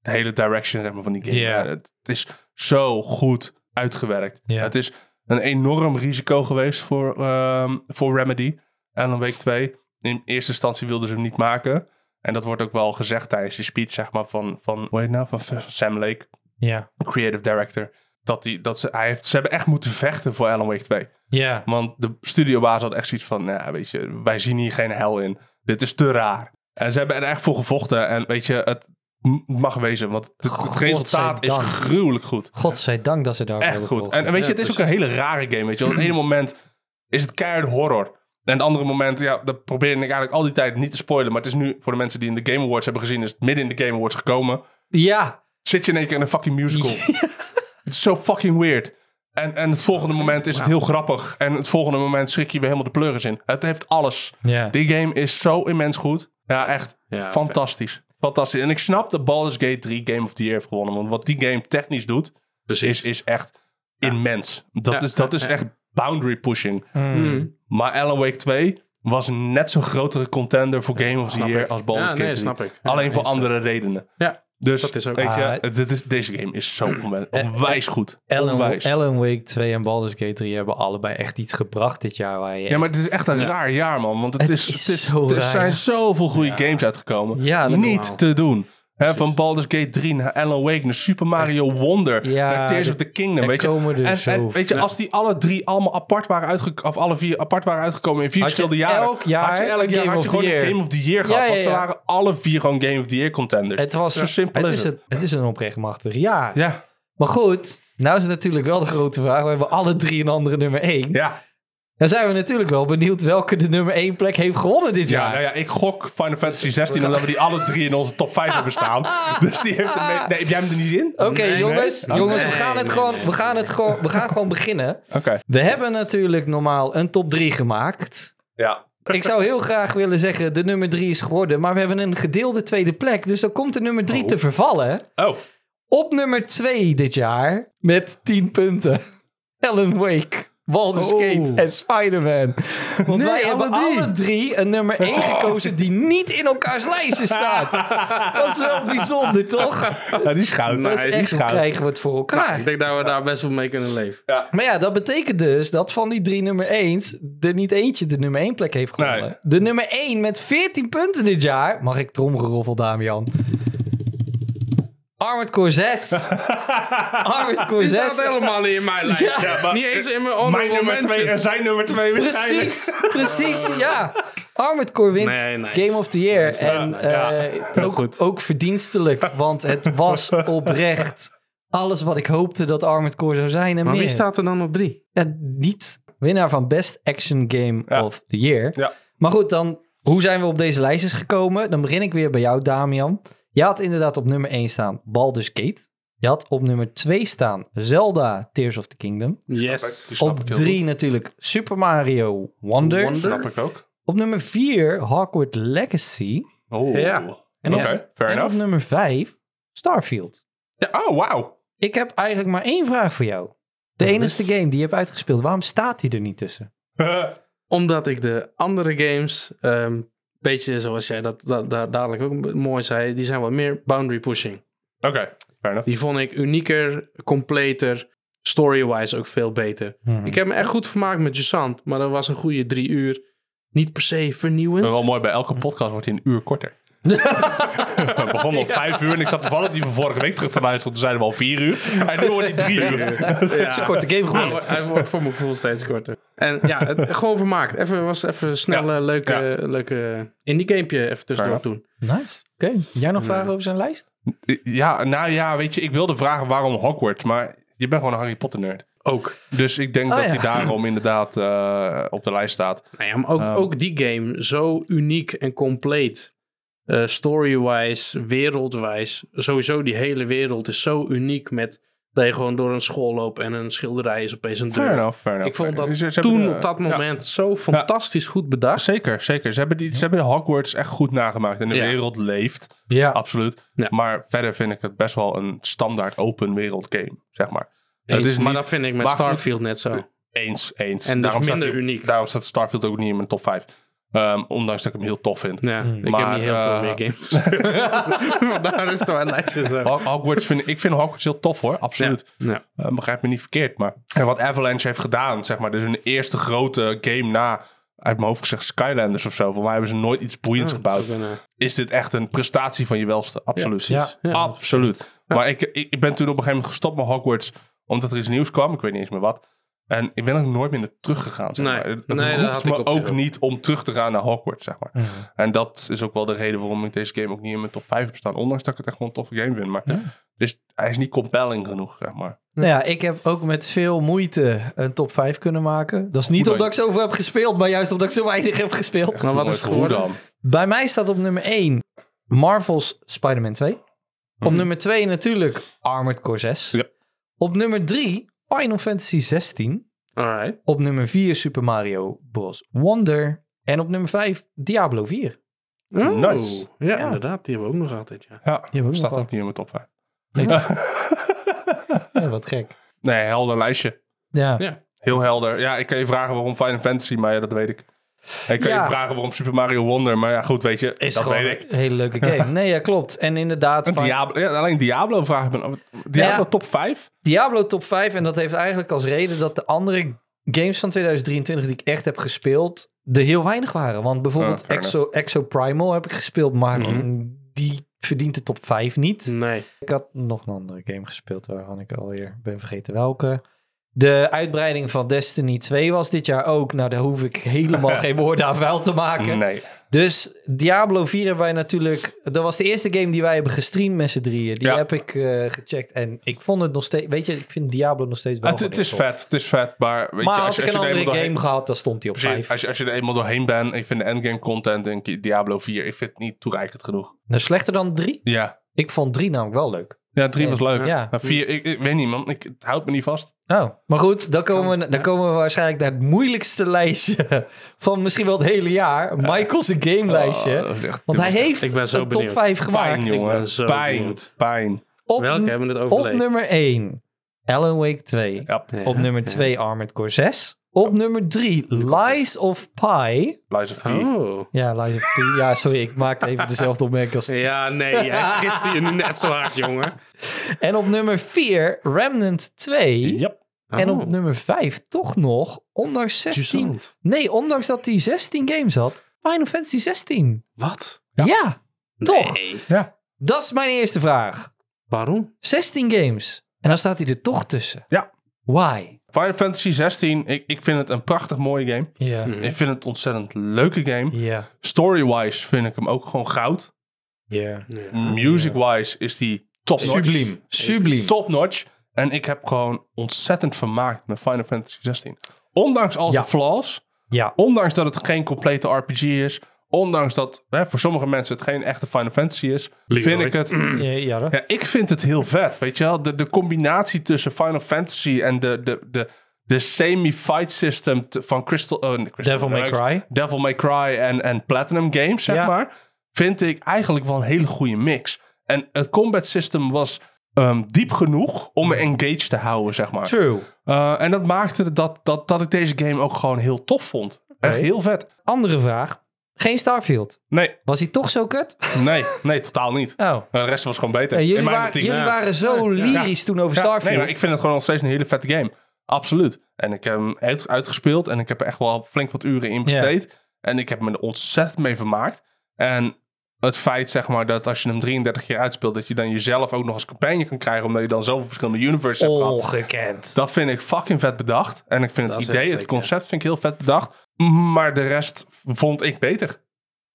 Speaker 4: de hele direction zeg maar, van die game.
Speaker 2: Ja.
Speaker 4: Eh, Het, het is zo goed uitgewerkt.
Speaker 2: Ja.
Speaker 4: Het is een enorm risico geweest voor, ehm, voor Remedy. En dan week 2. In eerste instantie wilden ze hem niet maken. En dat wordt ook wel gezegd tijdens die speech, zeg maar, van, van, hoe heet het nou? van, van Sam Lake
Speaker 2: Ja.
Speaker 4: creative director. Dat, die, dat ze, hij heeft, ze hebben echt moeten vechten voor Alan Wake 2.
Speaker 2: Ja.
Speaker 4: Want de studiobaas had echt zoiets van, nou, weet je, wij zien hier geen hel in. Dit is te raar. En ze hebben er echt voor gevochten. En weet je, het m- mag wezen, want het- het, resultaat is
Speaker 2: Godzijdank.
Speaker 4: gruwelijk goed.
Speaker 2: Godzijdank dat ze daar
Speaker 4: Echt goed. En, en weet je, het is ook een hele rare game, weet je. Want op het ene moment is het keihard horror. En het andere moment, ja, dat probeerde ik eigenlijk al die tijd niet te spoilen. Maar het is nu, voor de mensen die in de Game Awards hebben gezien, is het midden in de Game Awards gekomen
Speaker 2: Ja.
Speaker 4: zit je in één keer in een fucking musical. Het is zo fucking weird. En, en het volgende moment is het heel grappig. En het volgende moment schrik je weer helemaal de pleuris in. Het heeft alles.
Speaker 2: Ja.
Speaker 4: Die game is zo immens goed. Ja, echt
Speaker 3: Ja,
Speaker 4: fantastisch. Fantastisch. En ik snap dat Baldur's Gate 3 Game of the Year heeft gewonnen. Want wat die game technisch doet, is,
Speaker 3: Precies.
Speaker 4: is echt immens. Dat,
Speaker 3: Ja,
Speaker 4: is, dat
Speaker 3: ja,
Speaker 4: is
Speaker 3: ja.
Speaker 4: echt boundary pushing.
Speaker 3: Mm.
Speaker 4: Maar Alan Wake 2 was een net zo'n grotere contender voor Game of the
Speaker 3: snap
Speaker 4: Year
Speaker 3: ik.
Speaker 4: als Baldur's
Speaker 3: Ja,
Speaker 4: Gate
Speaker 3: nee,
Speaker 4: 3.
Speaker 3: snap ik. Ja,
Speaker 4: Alleen voor
Speaker 3: eens,
Speaker 4: andere redenen.
Speaker 3: Ja,
Speaker 4: Dus
Speaker 3: Dat is ook-
Speaker 4: weet je,
Speaker 2: Ah,
Speaker 4: het- dit is, deze game is zo
Speaker 2: Eh,
Speaker 4: onwe- onwijs goed.
Speaker 2: Alan,
Speaker 4: Onwijs.
Speaker 2: Alan Wake 2 en Baldur's Gate 3 hebben allebei echt iets gebracht dit jaar. Waar je
Speaker 4: ja, maar het is echt een raar jaar, man. Want het,
Speaker 2: Het
Speaker 4: is,
Speaker 2: is
Speaker 4: het is-
Speaker 2: zo
Speaker 4: er
Speaker 2: raar.
Speaker 4: zijn zoveel goede games uitgekomen.
Speaker 2: Ja, dat
Speaker 4: Niet
Speaker 2: normaal.
Speaker 4: te doen. Hè, van Baldur's Gate 3 naar Alan Wake, naar Super Mario Wonder,
Speaker 2: Ja,
Speaker 4: naar Tears
Speaker 2: er-
Speaker 4: of the Kingdom.
Speaker 2: er
Speaker 4: Weet je?
Speaker 2: komen er
Speaker 4: en, en
Speaker 2: zoveel.
Speaker 4: weet je, als die alle drie allemaal apart waren uitgekomen, of alle vier apart waren uitgekomen in vier
Speaker 2: Had je
Speaker 4: verschillende jaren,
Speaker 2: elk jaar
Speaker 4: had je elk jaar
Speaker 2: Game
Speaker 4: had
Speaker 2: of
Speaker 4: je
Speaker 2: the
Speaker 4: gewoon een
Speaker 2: Year.
Speaker 4: Game of the Year gehad.
Speaker 2: Ja, ja,
Speaker 4: Want ze
Speaker 2: ja.
Speaker 4: waren alle vier gewoon Game of the Year contenders.
Speaker 2: Het was
Speaker 4: Zo simpel
Speaker 2: het
Speaker 4: is
Speaker 2: is
Speaker 4: het.
Speaker 2: het. Het is een onrechtmatig jaar.
Speaker 4: Ja,
Speaker 2: Maar goed, nou is het natuurlijk wel de grote vraag. We hebben alle drie een andere nummer 1.
Speaker 4: ja.
Speaker 2: Dan zijn we natuurlijk wel benieuwd welke de nummer 1 plek heeft gewonnen dit
Speaker 4: Ja,
Speaker 2: jaar.
Speaker 4: nou ja, ik gok Final Fantasy 16 omdat we die alle drie in onze top 5 hebben staan. Dus die heeft er mee... Nee, heb jij hem er niet in?
Speaker 2: Oké, jongens,
Speaker 4: nee.
Speaker 2: jongens,
Speaker 3: Nee,
Speaker 2: we gaan het
Speaker 3: nee,
Speaker 2: gewoon,
Speaker 3: nee,
Speaker 2: we gaan het gewoon, we gaan gewoon beginnen.
Speaker 4: Oké.
Speaker 2: We hebben natuurlijk normaal een top 3 gemaakt.
Speaker 4: Ja.
Speaker 2: Ik zou heel graag willen zeggen, de nummer 3 is geworden, maar we hebben een gedeelde tweede plek, dus dan komt de nummer 3
Speaker 4: Oh.
Speaker 2: te vervallen.
Speaker 4: Oh.
Speaker 2: Op nummer 2 dit jaar, met 10 punten, Alan Wake, Baldur's
Speaker 3: Oh.
Speaker 2: Gate en Spider-Man. Want
Speaker 3: Nee,
Speaker 2: wij
Speaker 3: alle
Speaker 2: hebben
Speaker 3: drie.
Speaker 2: alle drie een nummer 1 gekozen die niet in elkaars lijsten staat. Dat is wel bijzonder, toch?
Speaker 4: Ja, die is goud.
Speaker 3: Dat is Nou,
Speaker 4: Die
Speaker 2: Echt, hoe
Speaker 4: goud.
Speaker 2: krijgen we het voor elkaar?
Speaker 3: Ik denk dat we daar best wel mee kunnen leven.
Speaker 2: Maar ja, dat betekent dus dat van die drie nummer 1's er niet eentje de nummer 1 plek heeft gewonnen.
Speaker 4: Nee.
Speaker 2: De nummer 1 met 14 punten dit jaar. Mag ik tromgeroffel, Damian? Armored Core 6. Armored Core
Speaker 3: Die
Speaker 2: 6.
Speaker 3: staat helemaal niet in mijn lijst.
Speaker 2: Ja.
Speaker 4: Ja, maar eh,
Speaker 3: Niet eens in mijn honorable
Speaker 4: Mijn nummer 2 en
Speaker 3: mentions.
Speaker 4: zijn nummer 2 waarschijnlijk.
Speaker 2: Precies, precies, ja. Armored Core wint
Speaker 3: Nee, nice.
Speaker 2: Game of the Year. en
Speaker 4: Ja,
Speaker 2: eh, ook, ook verdienstelijk, want het was oprecht alles wat ik hoopte dat Armored Core zou zijn en
Speaker 3: Maar
Speaker 2: meer.
Speaker 3: wie staat er dan op drie?
Speaker 2: Ja, niet winnaar van Best Action Game
Speaker 4: Ja.
Speaker 2: of the Year.
Speaker 4: Ja.
Speaker 2: Maar goed, dan hoe zijn we op deze lijstjes gekomen? Dan begin ik weer bij jou, Damian. Je had inderdaad op nummer 1 staan Baldur's Gate. Je had op nummer 2 staan Zelda Tears of the Kingdom.
Speaker 3: Yes.
Speaker 4: Snap
Speaker 2: op
Speaker 4: ik heel
Speaker 2: 3 natuurlijk Super Mario Wonder.
Speaker 3: Wonder.
Speaker 4: Snap ik ook.
Speaker 2: Op nummer 4 Hogwarts Legacy.
Speaker 4: Oh.
Speaker 3: Ja.
Speaker 4: Oké, fair
Speaker 2: en
Speaker 4: enough.
Speaker 2: op nummer 5 Starfield.
Speaker 4: Ja, oh, wauw.
Speaker 2: Ik heb eigenlijk maar één vraag voor jou. De
Speaker 4: Dat
Speaker 2: enige
Speaker 4: is-
Speaker 2: game die je hebt uitgespeeld, waarom staat die er niet tussen?
Speaker 3: Omdat ik de andere games, ehm beetje zoals jij dat, dat, dat dadelijk ook mooi zei, die zijn wat meer boundary pushing.
Speaker 4: Oké, fair enough.
Speaker 3: Die vond ik unieker, completer, story-wise ook veel beter.
Speaker 2: Hmm.
Speaker 3: Ik heb me echt goed vermaakt met Jusant, maar dat was een goede drie uur. Niet per se vernieuwend.
Speaker 4: Wel mooi, bij elke podcast wordt hij een uur korter. We begonnen om vijf uur en ik zat toevallig die van vorige week terug te luisteren. Toen zeiden we al vier uur. En nu hoor ik drie uur.
Speaker 2: Het is een korte game
Speaker 3: Hij,
Speaker 2: geworden.
Speaker 3: wordt- hij wordt voor mijn gevoel steeds korter. En ja, het, gewoon vermaakt. Even was even een snelle, leuke, leuke eh, indie gamepje even tussendoor
Speaker 4: enough.
Speaker 3: doen.
Speaker 2: Nice. Oké. Jij nog vragen over zijn lijst?
Speaker 4: Ja, nou ja, weet je, ik wilde vragen waarom Hogwarts, maar je bent gewoon een Harry Potter nerd.
Speaker 3: Ook.
Speaker 4: Dus ik denk
Speaker 2: Oh,
Speaker 4: dat
Speaker 2: ja.
Speaker 4: hij daarom inderdaad eh, op de lijst staat.
Speaker 3: Nou ja, maar ook,
Speaker 4: Ehm.
Speaker 3: ook die game zo uniek en compleet. eh, Story-wise, wereldwijs. Sowieso die hele wereld is zo uniek met dat je gewoon door een school loopt en een schilderij is opeens een
Speaker 4: Fair
Speaker 3: deur.
Speaker 4: enough, fair enough.
Speaker 3: Ik vond
Speaker 4: Ze-
Speaker 3: dat
Speaker 4: ze hebben
Speaker 3: toen
Speaker 4: de-
Speaker 3: op dat
Speaker 4: ja.
Speaker 3: moment zo fantastisch goed bedacht.
Speaker 4: Zeker, zeker. Ze hebben, die, ze hebben de Hogwarts echt goed nagemaakt. En de
Speaker 3: Ja.
Speaker 4: wereld leeft,
Speaker 2: Ja.
Speaker 4: absoluut.
Speaker 3: Ja.
Speaker 4: Maar verder vind ik het best wel een standaard open wereld game, zeg maar. het is
Speaker 3: maar
Speaker 4: niet
Speaker 3: dat vind ik met
Speaker 4: maar goed.
Speaker 3: Starfield net zo.
Speaker 4: eens, eens.
Speaker 3: En dus
Speaker 4: staat
Speaker 3: minder
Speaker 4: hij-
Speaker 3: uniek.
Speaker 4: Daarom staat Starfield ook niet in mijn top 5. Ehm, ondanks dat ik hem heel tof vind.
Speaker 3: Ja, ik heb
Speaker 4: Maar,
Speaker 3: niet heel
Speaker 4: eh,
Speaker 3: veel meer games. Vandaar is het wel een lijstje zo.
Speaker 4: Ho- Hogwarts vind ik, ik vind Hogwarts heel tof hoor, absoluut.
Speaker 3: Ja. Oh,
Speaker 4: Eh, begrijp me niet verkeerd, maar... En wat Avalanche heeft gedaan, zeg maar. Dus hun eerste grote game na, uit mijn hoofd gezegd, Skylanders of zo. Voor mij hebben ze nooit iets boeiends gebouwd.
Speaker 3: eh,
Speaker 4: is dit echt een prestatie van je welste. Absoluut.
Speaker 2: Ja, precies.
Speaker 3: Ja.
Speaker 4: Absoluut. Maar ik, ik, ik ben toen op een gegeven moment gestopt met Hogwarts. Omdat er iets nieuws kwam. Ik weet niet eens meer wat. En ik ben ook nooit meer naar teruggegaan. Zeg
Speaker 3: Nee.
Speaker 4: maar. Het, het
Speaker 3: Nee, dat
Speaker 4: roept
Speaker 3: had ik
Speaker 4: me
Speaker 3: op
Speaker 4: ook,
Speaker 3: zich ook.
Speaker 4: niet om terug te gaan naar Hogwarts, zeg maar. En dat is ook wel de reden waarom ik deze game ook niet in mijn top 5 heb staan. Ondanks dat ik het echt wel een toffe game vind. Maar het is, hij is niet compelling genoeg, zeg maar.
Speaker 2: Nou ja, ik heb ook met veel moeite een top 5 kunnen maken. Dat is niet
Speaker 4: Hoe
Speaker 2: omdat
Speaker 4: dan?
Speaker 2: ik zoveel heb gespeeld, maar juist omdat ik zo weinig heb gespeeld.
Speaker 3: Maar wat is
Speaker 4: Nooit
Speaker 3: het geworden?
Speaker 4: hoe dan?
Speaker 2: Bij mij staat op nummer 1 Marvel's Spider-Man 2. Op nummer 2 natuurlijk Armored Core 6.
Speaker 4: Mhm. Ja.
Speaker 2: Op nummer 3 Final Fantasy 16.
Speaker 3: Alright.
Speaker 2: Op nummer 4 Super Mario Bros. Wonder. En op nummer 5 Diablo 4.
Speaker 4: Nice.
Speaker 3: Oh, Ja, inderdaad. Die hebben we ook nog altijd, ja.
Speaker 4: Ja,
Speaker 2: Die hebben we ook
Speaker 4: staat
Speaker 2: nog
Speaker 4: ook niet in mijn top 5.
Speaker 2: Nee, Ja, wat gek.
Speaker 4: nee, helder lijstje.
Speaker 2: Ja.
Speaker 3: Ja.
Speaker 4: Heel helder. Ja, ik kan je vragen waarom Final Fantasy, maar ja, dat weet ik. Ik kan
Speaker 2: Ja.
Speaker 4: je vragen waarom Super Mario Wonder, maar ja, goed, weet je,
Speaker 2: Is
Speaker 4: dat
Speaker 2: gewoon
Speaker 4: weet ik.
Speaker 2: een hele leuke game. Nee, ja, klopt. En inderdaad,
Speaker 4: Een
Speaker 2: Fi-
Speaker 4: Diablo, ja, alleen Diablo vraag ik me. af. Diablo
Speaker 2: Ja.
Speaker 4: top 5?
Speaker 2: Diablo top 5. En dat heeft eigenlijk als reden dat de andere games van 2023 die ik echt heb gespeeld, er heel weinig waren. Want bijvoorbeeld
Speaker 4: Ah, fair
Speaker 2: Exo, Exo Primal heb ik gespeeld, maar
Speaker 3: Mhm.
Speaker 2: die verdient de top 5 niet.
Speaker 4: Mhm.
Speaker 3: Nee.
Speaker 2: Ik had nog een andere game gespeeld waarvan ik alweer ben vergeten welke. De uitbreiding van Destiny 2 was dit jaar ook. Nou, daar hoef ik helemaal geen woorden aan vuil te maken.
Speaker 4: Nee.
Speaker 2: Dus Diablo 4 hebben wij natuurlijk. Dat was de eerste game die wij hebben gestreamd met z'n drieën. Die
Speaker 4: Ja.
Speaker 2: heb ik eh, gecheckt. En ik vond het nog steeds. Weet je, ik vind Diablo nog steeds wel.
Speaker 4: Ah, Het, het
Speaker 2: gewoon
Speaker 4: is
Speaker 2: heel tof.
Speaker 4: vet, het is vet, maar weet
Speaker 2: Maar
Speaker 4: je,
Speaker 2: als,
Speaker 4: als, je-
Speaker 2: ik
Speaker 4: als
Speaker 2: een
Speaker 4: je er
Speaker 2: andere
Speaker 4: eenmaal
Speaker 2: game
Speaker 4: doorheen,
Speaker 2: gehad, dan stond hij op
Speaker 4: precies,
Speaker 2: 5.
Speaker 4: als, je, als je er eenmaal doorheen bent, ik vind de endgame content in Diablo 4, ik vind het niet toereikend genoeg.
Speaker 2: Nou, slechter dan 3?
Speaker 4: Ja.
Speaker 2: Ik vond 3 namelijk wel leuk.
Speaker 4: Ja, 3
Speaker 2: Ja.
Speaker 4: was leuk.
Speaker 2: Ja.
Speaker 4: Maar 4, ik, ik weet niet man, ik, het houdt me niet vast.
Speaker 2: Oh, maar goed, dan komen, we,
Speaker 3: ja.
Speaker 2: dan komen we waarschijnlijk naar het moeilijkste lijstje van misschien wel het hele jaar. Michael's game lijstje.
Speaker 4: Eh, Oh, dat is echt-
Speaker 2: Want hij heeft
Speaker 3: Ik ben zo
Speaker 2: een top
Speaker 3: benieuwd.
Speaker 2: 5
Speaker 4: pijn,
Speaker 2: gemaakt.
Speaker 4: jongen.
Speaker 3: ben zo
Speaker 4: Pijn,
Speaker 3: benieuwd.
Speaker 4: pijn.
Speaker 2: Op,
Speaker 3: Welke hebben het
Speaker 2: op
Speaker 3: overleefd?
Speaker 2: nummer 1, Alan Wake 2.
Speaker 4: Ja,
Speaker 2: Op nummer 2 Armored Core 6. Op nummer 3 Lies of Pi.
Speaker 4: Lies of P.
Speaker 3: Oh.
Speaker 2: Ja, Lies of Pi. Ja, sorry, ik maakte even dezelfde opmerking als...
Speaker 3: Ja, nee. Jij vergiste je nu net zo hard, jongen.
Speaker 2: En op nummer 4 Remnant 2.
Speaker 4: Yep.
Speaker 2: En op
Speaker 3: Oh,
Speaker 2: nummer 5 toch nog, ondanks 16...
Speaker 3: interessant.
Speaker 2: Nee, ondanks dat hij 16 games had, Final Fantasy 16.
Speaker 3: Wat?
Speaker 2: Ja, toch?
Speaker 3: Nee.
Speaker 2: Dat is mijn eerste vraag.
Speaker 3: Waarom?
Speaker 2: 16 games. En dan staat hij er toch tussen.
Speaker 4: Ja.
Speaker 2: Why?
Speaker 4: Final Fantasy 16, ik, ik vind het een prachtig mooie game.
Speaker 2: Ja.
Speaker 3: Hm.
Speaker 4: Ik vind het een ontzettend leuke game.
Speaker 2: Ja.
Speaker 4: Story-wise vind ik hem ook gewoon goud.
Speaker 2: Ja.
Speaker 4: Music-wise is die top-notch.
Speaker 2: Subliem. Subliem.
Speaker 4: Top-notch. En ik heb gewoon ontzettend vermaakt met Final Fantasy 16. Ondanks al zijn
Speaker 2: Ja.
Speaker 4: flaws,
Speaker 2: Ja.
Speaker 4: ondanks dat het geen complete RPG is, ondanks dat hè, voor sommige mensen het geen echte Final Fantasy is,
Speaker 3: Leroy.
Speaker 4: vind ik het...
Speaker 2: Ja, ja, dat-
Speaker 4: Ja, ik vind het heel vet, weet je wel. De, de combinatie tussen Final Fantasy en de, de, de, de semi-fight system te- van Crystal, eh, nee, Crystal
Speaker 2: Devil May
Speaker 4: Dynamics,
Speaker 2: Cry.
Speaker 4: Devil May Cry en, en Platinum Games, zeg
Speaker 2: Ja.
Speaker 4: maar. Vind ik eigenlijk wel een hele goede mix. En het combat system was ehm, diep genoeg om me engaged te houden, zeg maar.
Speaker 2: True.
Speaker 4: Eh, en dat maakte dat, dat, dat ik deze game ook gewoon heel tof vond. Echt
Speaker 2: Oké.
Speaker 4: heel vet.
Speaker 2: Andere vraag. Geen Starfield.
Speaker 4: Nee,
Speaker 2: Was hij toch zo kut?
Speaker 4: nee, nee, totaal niet.
Speaker 2: Oh.
Speaker 4: De rest was gewoon beter.
Speaker 2: En jullie,
Speaker 4: in mijn
Speaker 2: waren-
Speaker 4: optiek.
Speaker 2: jullie waren zo lyrisch toen over
Speaker 4: Ja,
Speaker 2: Starfield.
Speaker 4: Nee, maar ik vind het gewoon nog steeds een hele vette game. Absoluut. En ik heb hem uit- uitgespeeld en ik heb er echt wel flink wat uren in besteed. En ik heb me er ontzettend mee vermaakt. En het feit, zeg maar, dat als je hem 33 keer uitspeelt, dat je dan jezelf ook nog als campagne kan krijgen, omdat je dan zoveel verschillende universes hebt
Speaker 2: Oh.
Speaker 4: gehad.
Speaker 2: Ongekend.
Speaker 4: Dat vind ik fucking vet bedacht. En ik vind
Speaker 3: Dat
Speaker 4: het
Speaker 3: is echt
Speaker 4: idee, het
Speaker 3: sick,
Speaker 4: concept vind ik heel vet bedacht. Maar de rest vond ik beter.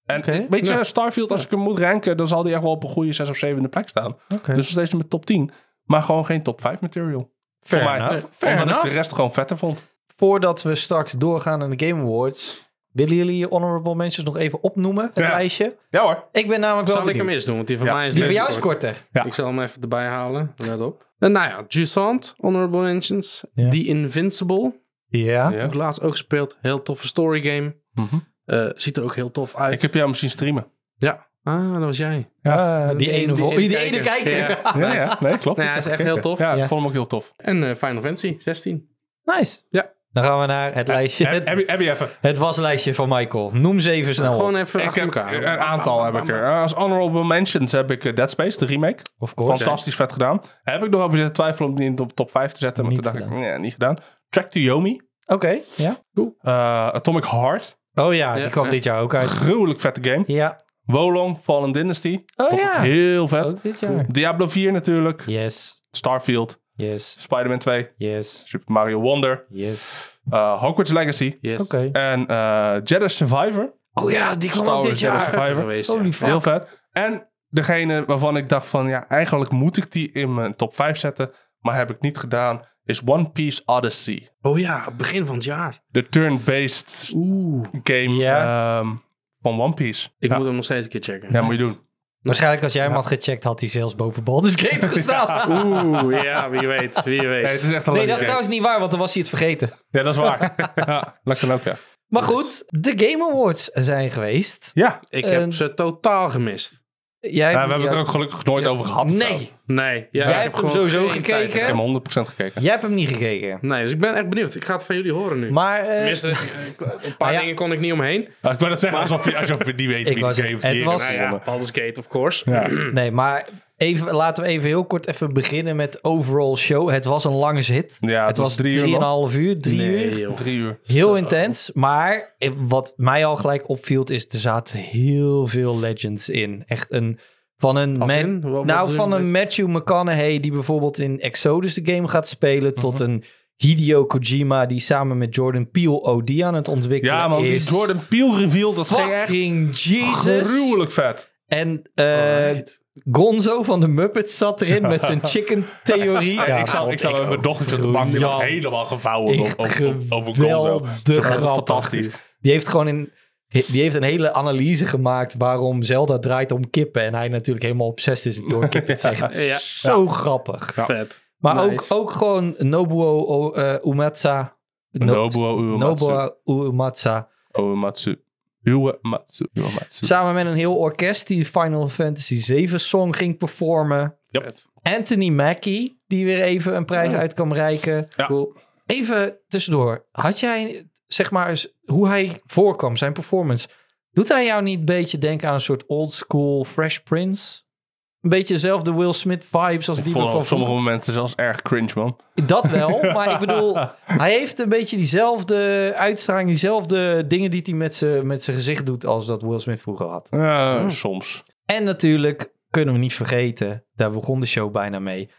Speaker 4: En
Speaker 2: Oké.
Speaker 4: weet je,
Speaker 3: Ja.
Speaker 4: Starfield, als ik hem moet ranken, dan zal die echt wel op een goede 6 of 7e plek staan.
Speaker 2: Oké.
Speaker 4: Dus nog steeds met top 10. Maar gewoon geen top 5 material.
Speaker 2: Fair
Speaker 4: voor mij.
Speaker 2: enough.
Speaker 4: Eh,
Speaker 2: Fair
Speaker 4: Omdat ik
Speaker 2: enough.
Speaker 4: de rest gewoon vetter vond.
Speaker 2: Voordat we straks doorgaan aan de Game Awards, willen jullie je honorable mentions nog even opnoemen, het
Speaker 4: Ja.
Speaker 2: lijstje?
Speaker 4: Ja hoor.
Speaker 2: Ik ben namelijk wel
Speaker 3: Zal ik hem
Speaker 2: benieuwd.
Speaker 3: eens doen, want die van
Speaker 4: Ja.
Speaker 3: mij is
Speaker 2: Die van
Speaker 3: net
Speaker 2: jou is
Speaker 3: kort.
Speaker 2: korter.
Speaker 4: Ja.
Speaker 3: Ik zal hem even erbij halen, let op. En nou ja, Jusant, Honorable Mentions.
Speaker 2: Ja.
Speaker 3: The Invincible,
Speaker 2: Ja.
Speaker 4: Ja.
Speaker 3: ook laatst ook gespeeld. Heel toffe story game.
Speaker 4: Mhm.
Speaker 3: Eh, ziet er ook heel tof uit.
Speaker 4: Ik heb jou misschien streamen.
Speaker 3: Ja. Ah, dat was jij.
Speaker 2: Ah, die, ene vol. Die, ene kijker.
Speaker 3: Ja.
Speaker 4: Ja, ja. Nee, klopt.
Speaker 3: Nou ja,
Speaker 4: Ik
Speaker 3: is
Speaker 4: heb
Speaker 3: echt heel
Speaker 4: gekeken.
Speaker 3: tof.
Speaker 4: Ja,
Speaker 2: Ja.
Speaker 4: ik vond hem ook heel tof.
Speaker 3: En eh, Final Fantasy 16.
Speaker 2: Nice.
Speaker 3: Ja.
Speaker 2: Dan gaan we naar het lijstje.
Speaker 4: Heb,
Speaker 2: Het,
Speaker 4: heb, je- heb je even.
Speaker 2: het waslijstje van Michael. Noem ze even snel
Speaker 3: Gewoon
Speaker 2: op.
Speaker 3: even
Speaker 4: Ik
Speaker 3: achter
Speaker 4: heb,
Speaker 3: elkaar.
Speaker 4: een aantal heb ik er. Eh, Als honorable mentions heb ik eh, Dead Space, de remake.
Speaker 2: Of course.
Speaker 4: Fantastisch vet gedaan. Heb ik nog over zitten twijfelen om die in de top 5 te zetten. Maar
Speaker 2: Niet
Speaker 4: toen dacht
Speaker 2: gedaan.
Speaker 4: ik, nee, niet gedaan. Track to Yomi.
Speaker 2: Oké, ja.
Speaker 4: eh, Atomic Heart.
Speaker 2: Oh ja, die
Speaker 3: Ja,
Speaker 2: kwam
Speaker 3: ja.
Speaker 2: dit jaar ook uit.
Speaker 4: Gruwelijk vette game.
Speaker 2: Ja.
Speaker 4: Wolong, Fallen Dynasty.
Speaker 2: Oh
Speaker 4: Vond ik
Speaker 2: ja.
Speaker 4: Heel vet.
Speaker 2: Ook dit jaar.
Speaker 4: Diablo 4 natuurlijk.
Speaker 2: Yes,
Speaker 4: Starfield.
Speaker 2: yes,
Speaker 4: Spider-Man 2.
Speaker 2: yes,
Speaker 4: Super Mario Wonder.
Speaker 2: yes.
Speaker 4: eh, Hogwarts Legacy.
Speaker 3: Yes.
Speaker 2: Oké.
Speaker 4: En eh, Jedi Survivor.
Speaker 2: Oh ja, die kwam
Speaker 4: Star
Speaker 2: ook dit
Speaker 4: Wars Jedi
Speaker 2: jaar.
Speaker 4: Survivor.
Speaker 3: Geweest,
Speaker 2: Holy
Speaker 3: ja.
Speaker 2: fuck.
Speaker 4: Heel vet. En degene waarvan ik dacht van, ja, eigenlijk moet ik die in mijn top 5 zetten, maar heb ik niet gedaan, is One Piece Odyssey.
Speaker 3: Oh ja, begin van het jaar.
Speaker 4: De turn-based
Speaker 3: Oeh.
Speaker 4: game
Speaker 2: Ja.
Speaker 4: ehm, van One Piece.
Speaker 3: Ik
Speaker 4: ja,
Speaker 3: moet hem nog steeds een keer checken.
Speaker 4: ja, moet je doen.
Speaker 2: Waarschijnlijk als jij hem had gecheckt, had hij zelfs boven Baldur's Gate gestaan.
Speaker 3: Oeh, ja, wie weet, wie weet.
Speaker 4: Oh, Nee, het is echt
Speaker 2: Nee,
Speaker 4: een leuke
Speaker 2: dat is
Speaker 4: game.
Speaker 2: trouwens niet waar, want dan was hij het vergeten.
Speaker 4: Ja, dat is waar. ja, lekker ook, ja.
Speaker 2: Maar goed, de Game Awards zijn geweest.
Speaker 4: Ja,
Speaker 3: Ik
Speaker 2: En-
Speaker 3: heb ze totaal gemist.
Speaker 2: Jij,
Speaker 4: ja, we hebben het er
Speaker 2: jij-
Speaker 4: ook gelukkig nooit over gehad.
Speaker 2: Nee,
Speaker 3: Nee.
Speaker 2: Jij
Speaker 3: Ja, ik
Speaker 2: hebt hem
Speaker 3: gewoon
Speaker 2: sowieso
Speaker 3: geen
Speaker 2: gekeken.
Speaker 3: tijd.
Speaker 4: Ik heb hem 100% gekeken.
Speaker 2: jij hebt hem niet gekeken.
Speaker 3: Nee, dus ik ben echt benieuwd. Ik ga het van jullie horen nu.
Speaker 2: Maar eh,
Speaker 3: Tenminste, eh, een paar
Speaker 2: Ah, ja.
Speaker 3: dingen kon ik niet omheen.
Speaker 4: Ja, ik wil het zeggen alsof je, alsof je niet weet
Speaker 2: Ik
Speaker 4: wie
Speaker 2: wou
Speaker 4: die game
Speaker 2: zeggen, het
Speaker 4: hier
Speaker 2: was-
Speaker 4: is.
Speaker 3: Nou
Speaker 2: Nou
Speaker 3: ja, Baldur's Gate, of course.
Speaker 4: Ja.
Speaker 2: nee, maar even, laten we even heel kort even beginnen met overall show. Het was een lange zit.
Speaker 4: Ja,
Speaker 2: het was drieënhalf uur, drie
Speaker 3: Nee,
Speaker 2: uur.
Speaker 3: joh.
Speaker 4: Drie uur.
Speaker 2: Heel
Speaker 3: Zo.
Speaker 2: intens, maar eh, wat mij al gelijk opviel is, er zaten heel veel legends in. Echt een, van een...
Speaker 3: Als
Speaker 2: man-
Speaker 3: in? Wat- wat
Speaker 2: nou,
Speaker 3: bedoel je
Speaker 2: van
Speaker 3: met
Speaker 2: een Matthew McConaughey die bijvoorbeeld in Exodus de game gaat spelen, tot een Hideo Kojima die samen met Jordan Peele OD aan het ontwikkelen
Speaker 4: Ja, man, die
Speaker 2: is.
Speaker 4: Jordan Peele reveal, dat ging echt
Speaker 2: Fucking Jesus.
Speaker 4: gruwelijk vet.
Speaker 2: En eh,
Speaker 3: Alright.
Speaker 2: Gonzo van de Muppets zat erin met zijn chicken theorie. Ja,
Speaker 4: ik zat,
Speaker 2: vond
Speaker 4: ik zat met
Speaker 2: ook
Speaker 4: mijn dochtertje op de bank, die was
Speaker 2: briljant.
Speaker 4: helemaal gevouwen
Speaker 2: Echt
Speaker 4: over, over, over Gonzo.
Speaker 2: geweldig
Speaker 4: Ze vond het
Speaker 2: grappig.
Speaker 4: Fantastisch.
Speaker 2: Die heeft gewoon een, die heeft een hele analyse gemaakt waarom Zelda draait om kippen. En hij natuurlijk helemaal obsessed is door kippen. Het is echt
Speaker 3: Ja.
Speaker 2: zo grappig.
Speaker 3: Vet.
Speaker 2: Maar
Speaker 3: Nice.
Speaker 2: ook, ook gewoon Nobuo o- eh, Uematsa. No-
Speaker 4: Nobuo Uematsu.
Speaker 2: Nobuo Uematsa.
Speaker 4: Uematsu. Uematsu. Uematsu.
Speaker 2: Samen met een heel orkest die Final Fantasy 7 song ging performen.
Speaker 4: Ja.
Speaker 3: Vet.
Speaker 2: Anthony Mackie, die weer even een prijs uit kan reiken.
Speaker 4: Ja.
Speaker 3: Cool.
Speaker 2: Even tussendoor. Had jij, zeg maar, eens hoe hij voorkwam, zijn performance. Doet hij jou niet een beetje denken aan een soort old school Fresh Prince? Een beetje dezelfde Will Smith vibes als
Speaker 4: Ik
Speaker 2: die
Speaker 4: vond
Speaker 2: we
Speaker 4: hem
Speaker 2: van
Speaker 4: op sommige momenten zelfs erg cringe, man.
Speaker 2: Dat wel, maar ik bedoel, hij heeft een beetje diezelfde uitstraling, diezelfde dingen die hij met zijn met zijn gezicht doet als dat Will Smith vroeger had.
Speaker 4: Ja, Soms.
Speaker 2: En natuurlijk kunnen we niet vergeten, daar begon de show bijna mee.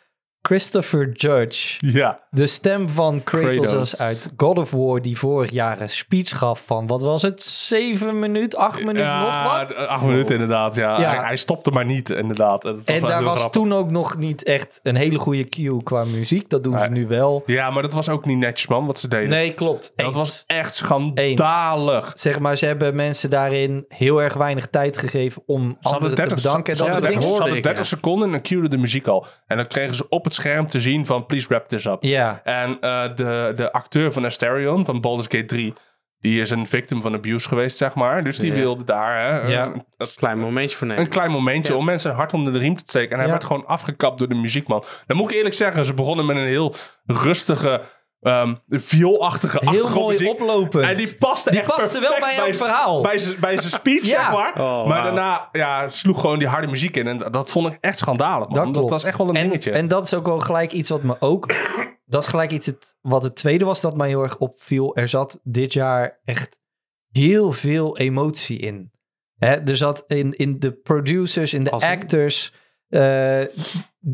Speaker 2: Christopher Judge,
Speaker 4: Ja.
Speaker 2: de stem van Kratos,
Speaker 4: Kratos.
Speaker 2: uit God of War, die vorig jaar een speech gaf van, wat was het, zeven minuut, acht minuut, nog
Speaker 4: ja
Speaker 2: wat?
Speaker 4: acht minuten inderdaad, ja.
Speaker 2: Ja.
Speaker 4: Hij, hij stopte maar niet, inderdaad. En, dat was
Speaker 2: En
Speaker 4: wel
Speaker 2: daar
Speaker 4: heel
Speaker 2: was
Speaker 4: grappig.
Speaker 2: toen ook nog niet echt een hele goede cue qua muziek, dat doen ze
Speaker 4: Nee.
Speaker 2: nu wel.
Speaker 4: Ja, maar dat was ook niet netjes, man, wat ze deden.
Speaker 2: Nee, klopt.
Speaker 4: dat
Speaker 2: Eens.
Speaker 4: was echt schandalig.
Speaker 2: zeg maar, ze hebben mensen daarin heel erg weinig tijd gegeven om
Speaker 4: Ze hadden
Speaker 2: anderen te
Speaker 4: 30,
Speaker 2: bedanken. en
Speaker 4: ze
Speaker 2: Dat
Speaker 4: hadden
Speaker 2: soort dingen.
Speaker 4: 30, ze
Speaker 3: hoorde
Speaker 4: hadden
Speaker 3: ik,
Speaker 4: 30
Speaker 3: ja.
Speaker 4: seconden en dan cuede de muziek al. En dan kregen ze op het scherm te zien van please wrap this up.
Speaker 2: Ja,
Speaker 4: En eh, de, de acteur van Asterion, van Baldur's Gate 3, die is een victim van abuse geweest, zeg maar. Dus die
Speaker 3: Ja.
Speaker 4: wilde daar hè,
Speaker 2: Ja.
Speaker 4: een,
Speaker 3: Klein momentje voor nemen.
Speaker 4: een klein momentje om mensen een hart onder de riem te steken. En hij
Speaker 2: Ja.
Speaker 4: werd gewoon afgekapt door de muziekman. Dan moet ik eerlijk zeggen, ze begonnen met een heel rustige, ehm vioolachtige
Speaker 2: heel mooi
Speaker 4: achtergrondmuziek.
Speaker 2: oplopend.
Speaker 4: En die paste echt
Speaker 2: paste wel bij
Speaker 4: perfect
Speaker 2: jouw verhaal.
Speaker 4: Bij zijn bij zijn
Speaker 2: Ja.
Speaker 4: speech, zeg maar.
Speaker 3: Oh,
Speaker 4: maar
Speaker 3: wauw.
Speaker 4: daarna ja, sloeg gewoon die harde muziek in. En dat vond ik echt schandalig, man. Dat,
Speaker 2: klopt.
Speaker 4: was echt wel een
Speaker 2: en,
Speaker 4: dingetje.
Speaker 2: En dat is ook wel gelijk iets wat me ook... dat is gelijk iets het, wat het tweede was dat mij heel erg opviel. Er zat dit jaar echt heel veel emotie in. Hè, er zat in, in de producers, in de
Speaker 3: Als-
Speaker 2: actors. eh,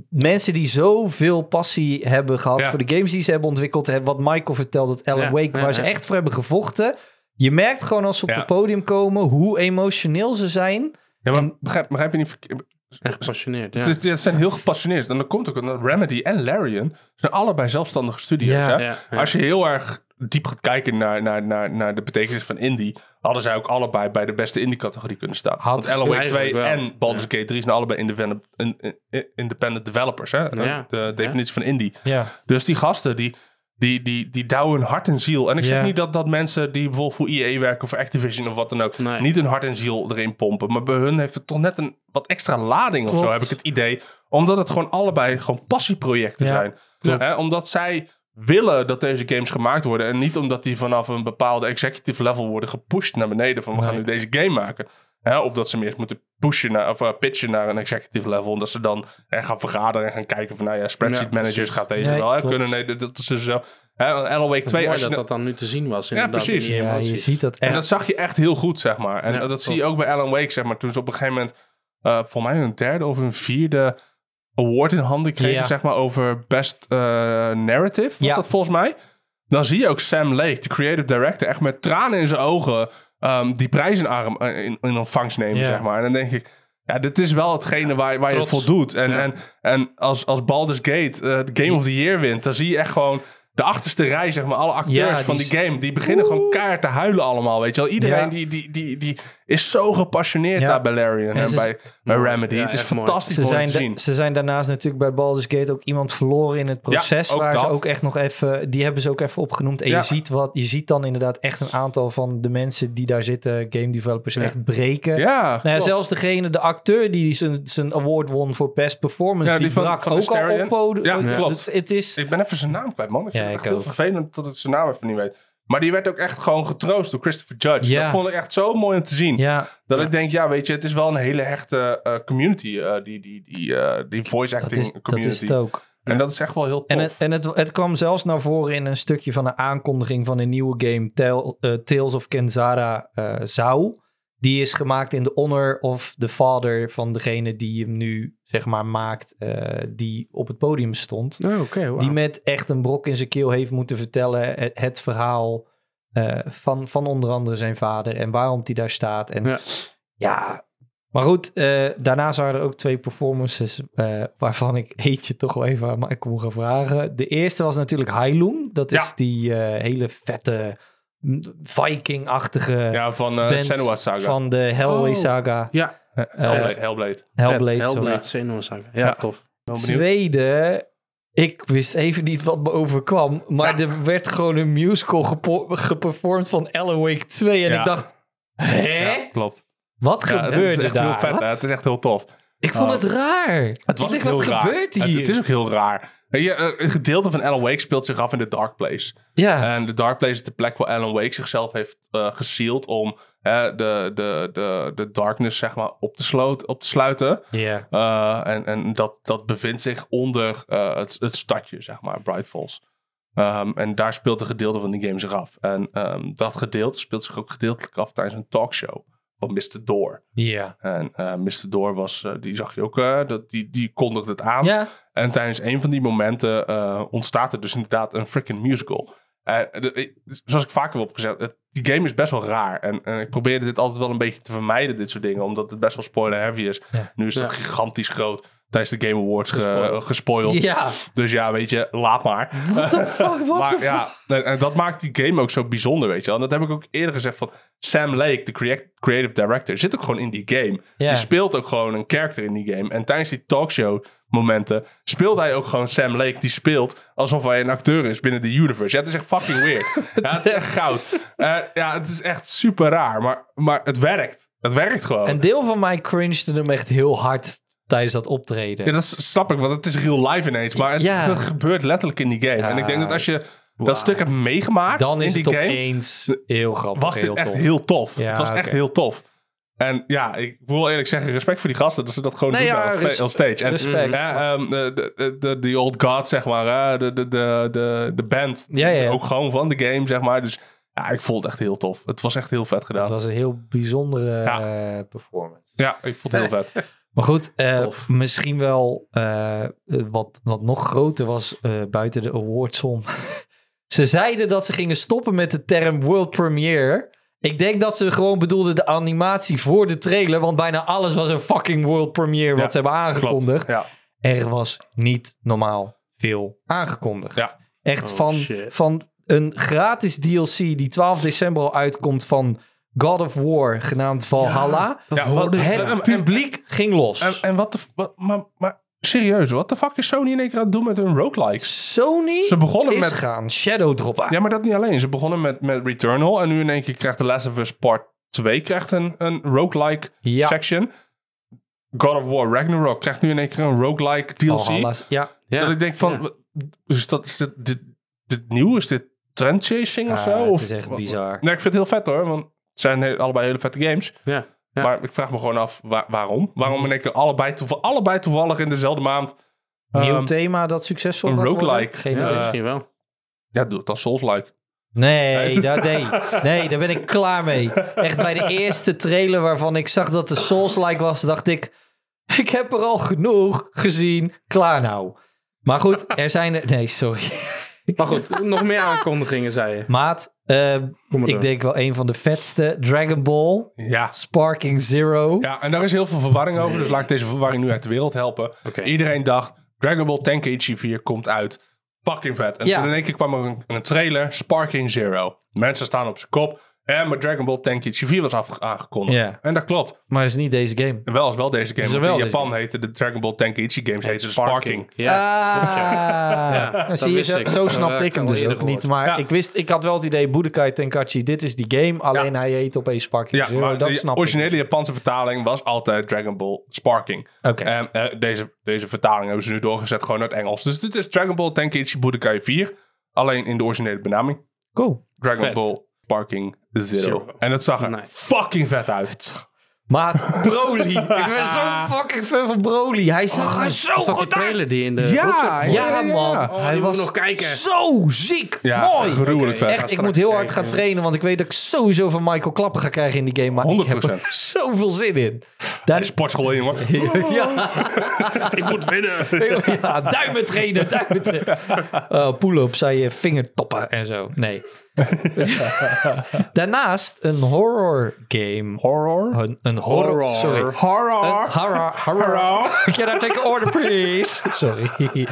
Speaker 2: mensen die zoveel passie hebben gehad
Speaker 4: Ja.
Speaker 2: voor de games die ze hebben ontwikkeld. Hè, wat Michael vertelt, dat Alan
Speaker 3: Ja,
Speaker 2: Wake,
Speaker 3: ja,
Speaker 2: waar ze
Speaker 3: ja.
Speaker 2: echt voor hebben gevochten. Je merkt gewoon als ze op
Speaker 4: Ja.
Speaker 2: het podium komen hoe emotioneel ze zijn.
Speaker 4: Ja, maar
Speaker 2: En-
Speaker 4: begrijp, begrijp je niet verkeerd?
Speaker 3: Echt gepassioneerd, ja.
Speaker 4: Het, is- het zijn heel gepassioneerd. En dan komt ook omdat Remedy en Larian zijn allebei zelfstandige studio's.
Speaker 3: Ja,
Speaker 4: hè?
Speaker 3: ja, ja.
Speaker 4: Als je heel erg diep gaat kijken naar, naar, naar, naar de betekenis van indie, hadden zij ook allebei bij de beste indie-categorie kunnen staan.
Speaker 2: Had-
Speaker 4: Want LOA 2
Speaker 3: eigenlijk wel.
Speaker 4: en Baldur's Gate 3 zijn allebei independent, in- in- independent developers. Hè?
Speaker 3: Ja.
Speaker 4: De definitie van indie.
Speaker 2: Ja.
Speaker 4: Dus die gasten, die, die, die, die douwen hun hart en ziel. En ik zeg
Speaker 2: Ja.
Speaker 4: niet dat, dat mensen die bijvoorbeeld voor EA werken of Activision of wat dan ook,
Speaker 3: Nee.
Speaker 4: niet hun hart en ziel erin pompen. Maar bij hun heeft het toch net een wat extra lading of zo,
Speaker 2: Klopt.
Speaker 4: heb ik het idee. Omdat het gewoon allebei gewoon passieprojecten
Speaker 2: Ja,
Speaker 4: zijn.
Speaker 3: klopt.
Speaker 4: Hè, omdat zij willen dat deze games gemaakt worden. En niet omdat die vanaf een bepaalde executive level worden gepusht naar beneden. Van we gaan nu
Speaker 2: Nee.
Speaker 4: deze game maken. Hè, of dat ze meer moeten pushen naar, of eh, pitchen naar een executive level. En dat ze dan eh, gaan vergaderen en gaan kijken van nou ja, spreadsheet
Speaker 3: Ja,
Speaker 4: managers gaat deze
Speaker 2: Nee,
Speaker 4: wel hè,
Speaker 2: klopt.
Speaker 4: kunnen. Nee, dat- dat is dus zo. Hè, want LOA
Speaker 3: Het is
Speaker 4: 2
Speaker 3: mooi
Speaker 4: als je
Speaker 3: dat
Speaker 4: na-
Speaker 3: dat dan nu te zien was. inderdaad,
Speaker 4: precies.
Speaker 3: in die
Speaker 2: nou- Ja, je
Speaker 3: emoties.
Speaker 2: ziet dat
Speaker 4: en
Speaker 2: echt.
Speaker 4: dat zag je echt heel goed, zeg maar. En
Speaker 3: Ja,
Speaker 4: dat zie je
Speaker 3: klopt.
Speaker 4: ook bij Alan Wake, zeg maar. Toen ze op een gegeven moment, eh voor mij hun derde of hun vierde award in handen kregen,
Speaker 2: Ja.
Speaker 4: zeg maar, over best eh, narrative, was
Speaker 2: Ja.
Speaker 4: dat volgens mij. Dan zie je ook Sam Lake, de creative director, echt met tranen in zijn ogen ehm, die prijs in, arm, eh, in, in ontvangst nemen,
Speaker 2: Ja.
Speaker 4: zeg maar. En dan denk ik, ja, dit is wel hetgene waar, waar je het
Speaker 3: Trots.
Speaker 4: voldoet. En,
Speaker 3: Ja.
Speaker 4: en, en als, als Baldur's Gate eh, de Game of the Year wint, dan zie je echt gewoon de achterste rij, zeg maar, alle acteurs
Speaker 2: die
Speaker 4: van die
Speaker 2: s-
Speaker 4: game game. Die beginnen gewoon keihard te huilen allemaal, weet je wel. Iedereen
Speaker 2: Ja.
Speaker 4: die, die, die, die is zo gepassioneerd
Speaker 2: Ja.
Speaker 4: daar bij Larian en,
Speaker 2: En ze-
Speaker 4: bij, bij Remedy.
Speaker 3: Ja,
Speaker 4: het is
Speaker 3: echt mooi.
Speaker 4: fantastisch
Speaker 2: Ze
Speaker 4: om
Speaker 2: zijn,
Speaker 4: te
Speaker 2: da-
Speaker 4: zien.
Speaker 2: ze zijn daarnaast natuurlijk bij Baldur's Gate ook iemand verloren in het proces.
Speaker 4: ook
Speaker 2: waar ze
Speaker 4: dat.
Speaker 2: ook echt nog even. Die hebben ze ook even opgenoemd. En
Speaker 4: Ja.
Speaker 2: je, ziet wat, je ziet dan inderdaad echt een aantal van de mensen die daar zitten, game developers, echt breken.
Speaker 4: Ja,
Speaker 2: Nou ja,
Speaker 4: klopt.
Speaker 2: zelfs degene, de acteur die zijn, zijn award won voor Best Performance,
Speaker 4: Ja,
Speaker 2: die,
Speaker 4: die van-
Speaker 2: brak
Speaker 4: van
Speaker 2: ook al
Speaker 4: Mysterion.
Speaker 2: op podium.
Speaker 4: Ja,
Speaker 2: Het-
Speaker 4: klopt.
Speaker 2: Het, het is...
Speaker 4: ik ben even zijn naam kwijt, man. Ik vind
Speaker 2: Ja,
Speaker 4: het
Speaker 2: ik
Speaker 4: echt heel
Speaker 2: ook.
Speaker 4: vervelend dat ik zijn naam even niet weet. Maar die werd ook echt gewoon getroost door Christopher Judge.
Speaker 2: Ja.
Speaker 4: Dat vond ik echt zo mooi om te zien.
Speaker 2: Ja,
Speaker 4: Dat ik denk, ja, weet je, het is wel een hele hechte eh, community. eh, die, die, die, eh, die voice
Speaker 2: dat
Speaker 4: acting
Speaker 2: is, dat is
Speaker 4: community.
Speaker 2: het ook.
Speaker 4: en dat is echt wel heel tof.
Speaker 2: En, het, en het, het kwam zelfs naar voren in een stukje van een aankondiging van een nieuwe game, Tel- eh, Tales of Kenzara eh Zou. Die is gemaakt in de honor of de vader van degene die hem nu, zeg maar, maakt, eh, die op het podium stond.
Speaker 3: Oh, oké, wauw.
Speaker 2: Die met echt een brok in zijn keel heeft moeten vertellen het, het verhaal eh, van, van onder andere zijn vader en waarom hij daar staat. En ja.
Speaker 3: Ja.
Speaker 2: Maar goed, eh, daarna waren er ook twee performances eh, waarvan ik eentje toch wel even aan Michael moet gaan vragen. De eerste was natuurlijk Heilung. Dat is
Speaker 4: Ja.
Speaker 2: die eh, hele vette mm, Viking-achtige
Speaker 4: ja, van eh
Speaker 2: band
Speaker 4: Senua Saga.
Speaker 2: van eh, de Hellway
Speaker 3: Oh.
Speaker 2: Saga.
Speaker 3: Ja,
Speaker 4: Hellblade. Hellblade.
Speaker 2: Hellblade.
Speaker 3: vet.
Speaker 2: sorry.
Speaker 3: Hellblade, Xenosaga. Ja,
Speaker 4: Ja.
Speaker 3: tof.
Speaker 4: Ben benieuwd.
Speaker 2: Tweede, ik wist even niet wat me overkwam, maar er werd gewoon een musical gepo- geperformd van Alan Wake 2 en
Speaker 4: Ja.
Speaker 2: ik dacht, hè?
Speaker 4: Ja, klopt.
Speaker 2: Wat
Speaker 4: Ja, het is
Speaker 2: gebeurde
Speaker 4: echt
Speaker 2: daar?
Speaker 4: heel vet.
Speaker 2: Wat?
Speaker 4: hè? Het is echt heel tof.
Speaker 2: Ik vond het raar.
Speaker 4: Het
Speaker 2: ik dacht,
Speaker 4: was ook heel
Speaker 2: wat
Speaker 4: raar.
Speaker 2: gebeurt hier?
Speaker 4: Het, het is ook heel raar. Weet je, eh, een gedeelte van Alan Wake speelt zich af in de Dark Place.
Speaker 2: ja,
Speaker 4: En de Dark Place is de plek waar Alan Wake zichzelf heeft eh gesealed om eh, de, de, de, de darkness zeg maar, op, te sloot, op te sluiten.
Speaker 2: ja.
Speaker 4: Eh, en en dat, dat bevindt zich onder eh, het, het stadje, zeg maar, Bright Falls. Ehm, en daar speelt een gedeelte van die game zich af. En ehm, dat gedeelte speelt zich ook gedeeltelijk af tijdens een talkshow van Mr. Door.
Speaker 2: ja.
Speaker 4: En eh, Mr. Door was, eh, die zag je ook, eh, dat, die, die kondigde het aan.
Speaker 2: Ja,
Speaker 4: En tijdens een van die momenten eh, ontstaat er dus inderdaad een freaking musical. En, eh, de- ik- zoals ik vaker heb opgezet, het, die game is best wel raar. En, en ik probeerde dit altijd wel een beetje te vermijden, dit soort dingen. Omdat het best wel spoiler-heavy is.
Speaker 2: Ja.
Speaker 4: Nu is dat
Speaker 3: Ja.
Speaker 4: gigantisch groot tijdens de Game Awards ge-
Speaker 3: Gespoiled.
Speaker 4: gespoiled.
Speaker 2: ja.
Speaker 4: Dus ja, weet je, laat maar.
Speaker 2: What the fuck, what the
Speaker 4: Maar
Speaker 2: fuck?
Speaker 4: ja, en, en dat maakt die game ook zo bijzonder, weet je wel. En dat heb ik ook eerder gezegd van Sam Lake, de creat- creative director, zit ook gewoon in die game.
Speaker 2: Ja.
Speaker 4: Die speelt ook gewoon een karakter in die game. En tijdens die talkshow momenten speelt hij ook gewoon Sam Lake. Die speelt alsof hij een acteur is binnen de universe. Ja, het is echt fucking weird. ja, het is echt goud. Eh, ja, het is echt super raar. Maar, maar het werkt. Het werkt gewoon.
Speaker 2: Een deel van mij cringede hem echt heel hard tijdens dat optreden.
Speaker 4: Ja, dat s- snap ik, want het is real life ineens. Maar het
Speaker 2: Ja.
Speaker 4: ge- gebeurt letterlijk in die game.
Speaker 2: Ja.
Speaker 4: En ik denk dat als je dat stuk hebt meegemaakt
Speaker 2: Dan is
Speaker 4: in
Speaker 2: het
Speaker 4: die game...
Speaker 2: opeens heel grappig,
Speaker 4: was
Speaker 2: heel
Speaker 4: dit echt
Speaker 2: tof.
Speaker 4: heel tof.
Speaker 2: Ja,
Speaker 4: het was echt
Speaker 2: oké.
Speaker 4: heel tof. En ja, ik wil eerlijk zeggen, respect voor die gasten dat ze dat gewoon
Speaker 2: Nee,
Speaker 4: doen
Speaker 2: ja,
Speaker 4: daar op sta-
Speaker 2: res-
Speaker 4: op stage. En,
Speaker 2: respect.
Speaker 4: Ja, ehm, de, de- de, de, die old god, zeg maar, hè, de, de, de, de, de band,
Speaker 2: Ja,
Speaker 4: die is
Speaker 2: ja.
Speaker 4: ook gewoon van de game, zeg maar. Dus Ja, ik vond het echt heel tof. Het was echt heel vet
Speaker 2: Het
Speaker 4: gedaan.
Speaker 2: was een heel bijzondere eh, performance.
Speaker 4: Ja, ik vond het heel vet.
Speaker 2: Maar goed, eh,
Speaker 3: Tof.
Speaker 2: misschien wel eh, eh, wat, wat nog groter was eh, buiten de awards om. ze zeiden dat ze gingen stoppen met de term world premiere. Ik denk dat ze gewoon bedoelden de animatie voor de trailer. Want bijna alles was een fucking world premiere wat
Speaker 4: Ja,
Speaker 2: ze hebben aangekondigd.
Speaker 4: Ja.
Speaker 2: Er was niet normaal veel aangekondigd.
Speaker 4: Ja.
Speaker 2: Echt
Speaker 3: Oh,
Speaker 2: van,
Speaker 3: shit.
Speaker 2: van een gratis DLC die 12 december al uitkomt van God of War, genaamd Valhalla.
Speaker 4: Ja,
Speaker 2: Want
Speaker 4: hoorde ik.
Speaker 2: het
Speaker 4: En- en-
Speaker 2: publiek ging los.
Speaker 4: En, en wat de... f- Wat, maar, maar serieus, wat de fuck is Sony in één keer aan het doen met hun roguelikes?
Speaker 2: Sony
Speaker 4: Ze begonnen
Speaker 2: is
Speaker 4: met...
Speaker 2: gaan shadow droppen.
Speaker 4: Ja, maar dat niet alleen. Ze begonnen met, met Returnal en nu in één keer krijgt The Last of Us Part 2 krijgt een, een roguelike
Speaker 2: Ja.
Speaker 4: section. God of War Ragnarok krijgt nu in één keer een roguelike DLC.
Speaker 2: Valhalla's- ja.
Speaker 3: Ja.
Speaker 4: Dat ik denk van, wat- is, dat, is dit, dit, dit nieuw? Is dit trendchasing of
Speaker 2: Ah,
Speaker 4: zo?
Speaker 2: het
Speaker 4: Of-
Speaker 2: is echt bizar.
Speaker 4: Nee, ik vind het heel vet hoor, want het zijn he- allebei hele vette games.
Speaker 3: Ja. Ja.
Speaker 4: Maar ik vraag me gewoon af, wa- waarom?
Speaker 2: Mm.
Speaker 4: Waarom in één keer allebei, toeval- allebei toevallig in dezelfde maand...
Speaker 2: Nieuw
Speaker 4: ehm,
Speaker 2: thema dat succesvol
Speaker 4: een
Speaker 2: gaat worden?
Speaker 4: roguelike.
Speaker 2: Geen
Speaker 3: Ja,
Speaker 2: idee.
Speaker 4: Eh,
Speaker 3: misschien wel.
Speaker 4: ja, doe het dan Souls-like.
Speaker 2: Nee, daar, nee, nee, daar ben ik klaar mee. Echt bij de eerste trailer waarvan ik zag dat de Souls-like was, dacht ik... Ik heb er al genoeg gezien. Klaar nou. Maar goed, er zijn er... Nee, sorry.
Speaker 3: Maar goed, nog meer aankondigingen, zei je.
Speaker 2: Maat, ehm,
Speaker 3: Kom maar
Speaker 2: ik
Speaker 3: door.
Speaker 2: denk wel een van de vetste. Dragon Ball,
Speaker 4: Ja.
Speaker 2: Sparking Zero.
Speaker 4: ja, en daar is heel veel verwarring over, dus laat ik deze verwarring nu uit de wereld helpen.
Speaker 3: Oké.
Speaker 4: Iedereen dacht, Dragon Ball Tenkaichi 4 komt uit. Fucking vet. En
Speaker 2: Ja.
Speaker 4: toen in één keer kwam er een, een trailer, Sparking Zero. Mensen staan op zijn kop. En maar Dragon Ball Tenkaichi 4 was afge- aangekondigd.
Speaker 2: Ja.
Speaker 4: En dat klopt.
Speaker 2: Maar het is niet deze game.
Speaker 4: En wel is wel deze game.
Speaker 2: Is er
Speaker 4: want
Speaker 2: wel
Speaker 4: in
Speaker 2: deze
Speaker 4: Japan heten de Dragon Ball Tenkaichi games heten Sparking.
Speaker 3: Ja.
Speaker 2: Ah, Nou,
Speaker 3: dat
Speaker 2: zie je,
Speaker 3: wist
Speaker 2: zo,
Speaker 3: ik.
Speaker 2: zo
Speaker 3: Dat
Speaker 2: snapte
Speaker 3: heb
Speaker 2: ik
Speaker 3: ik
Speaker 2: hem
Speaker 3: al
Speaker 2: dus
Speaker 3: eerder
Speaker 2: ook niet.
Speaker 3: gehoord.
Speaker 2: Maar
Speaker 4: Ja.
Speaker 2: ik, wist, ik had wel het idee, Budokai Tenkaichi, dit is die game. Alleen hij heet opeens Sparking
Speaker 4: Ja,
Speaker 2: Zero,
Speaker 4: maar
Speaker 2: dat
Speaker 4: de
Speaker 2: snap
Speaker 4: originele Japanse vertaling was altijd Dragon Ball Sparking.
Speaker 2: ik. Oké.
Speaker 4: En eh, deze, deze vertaling hebben ze nu doorgezet gewoon naar het Engels. Dus dit is Dragon Ball Tenkaichi Budokai 4. Alleen in de originele benaming.
Speaker 2: cool.
Speaker 4: Dragon
Speaker 3: Vet.
Speaker 4: Ball Sparking Zero.
Speaker 3: Zero.
Speaker 4: En dat zag er
Speaker 3: Nice.
Speaker 4: fucking vet uit.
Speaker 2: Maat, Broly. ik ben zo fucking fan van Broly. Hij zag er zo
Speaker 3: Is dat die
Speaker 2: goed uit.
Speaker 3: trailer die in de...
Speaker 4: Ja,
Speaker 2: Ja, man.
Speaker 4: Ja,
Speaker 3: Oh,
Speaker 2: hij
Speaker 3: die
Speaker 2: was
Speaker 3: was... nog kijken.
Speaker 2: zo ziek.
Speaker 4: Ja,
Speaker 2: Mooi.
Speaker 4: gruwelijk vet.
Speaker 2: Echt, ik moet heel hard gaan trainen, want ik weet dat ik sowieso van Michael Klappen ga krijgen in die game. Maar ik heb er
Speaker 4: 100%.
Speaker 2: zoveel zin in. Daar is...
Speaker 4: Sportschool in, jongen.
Speaker 2: Ja.
Speaker 4: ik moet winnen.
Speaker 2: ja, duimen trainen, duimen trainen. Oh, pull-ups, zei je vingertoppen en zo. Nee. Daarnaast een horror game.
Speaker 4: Horror.
Speaker 2: Een, een horror,
Speaker 3: Horror.
Speaker 2: Sorry. Een
Speaker 4: Horror.
Speaker 2: horror. Horror. Can I take an order, please? Sorry.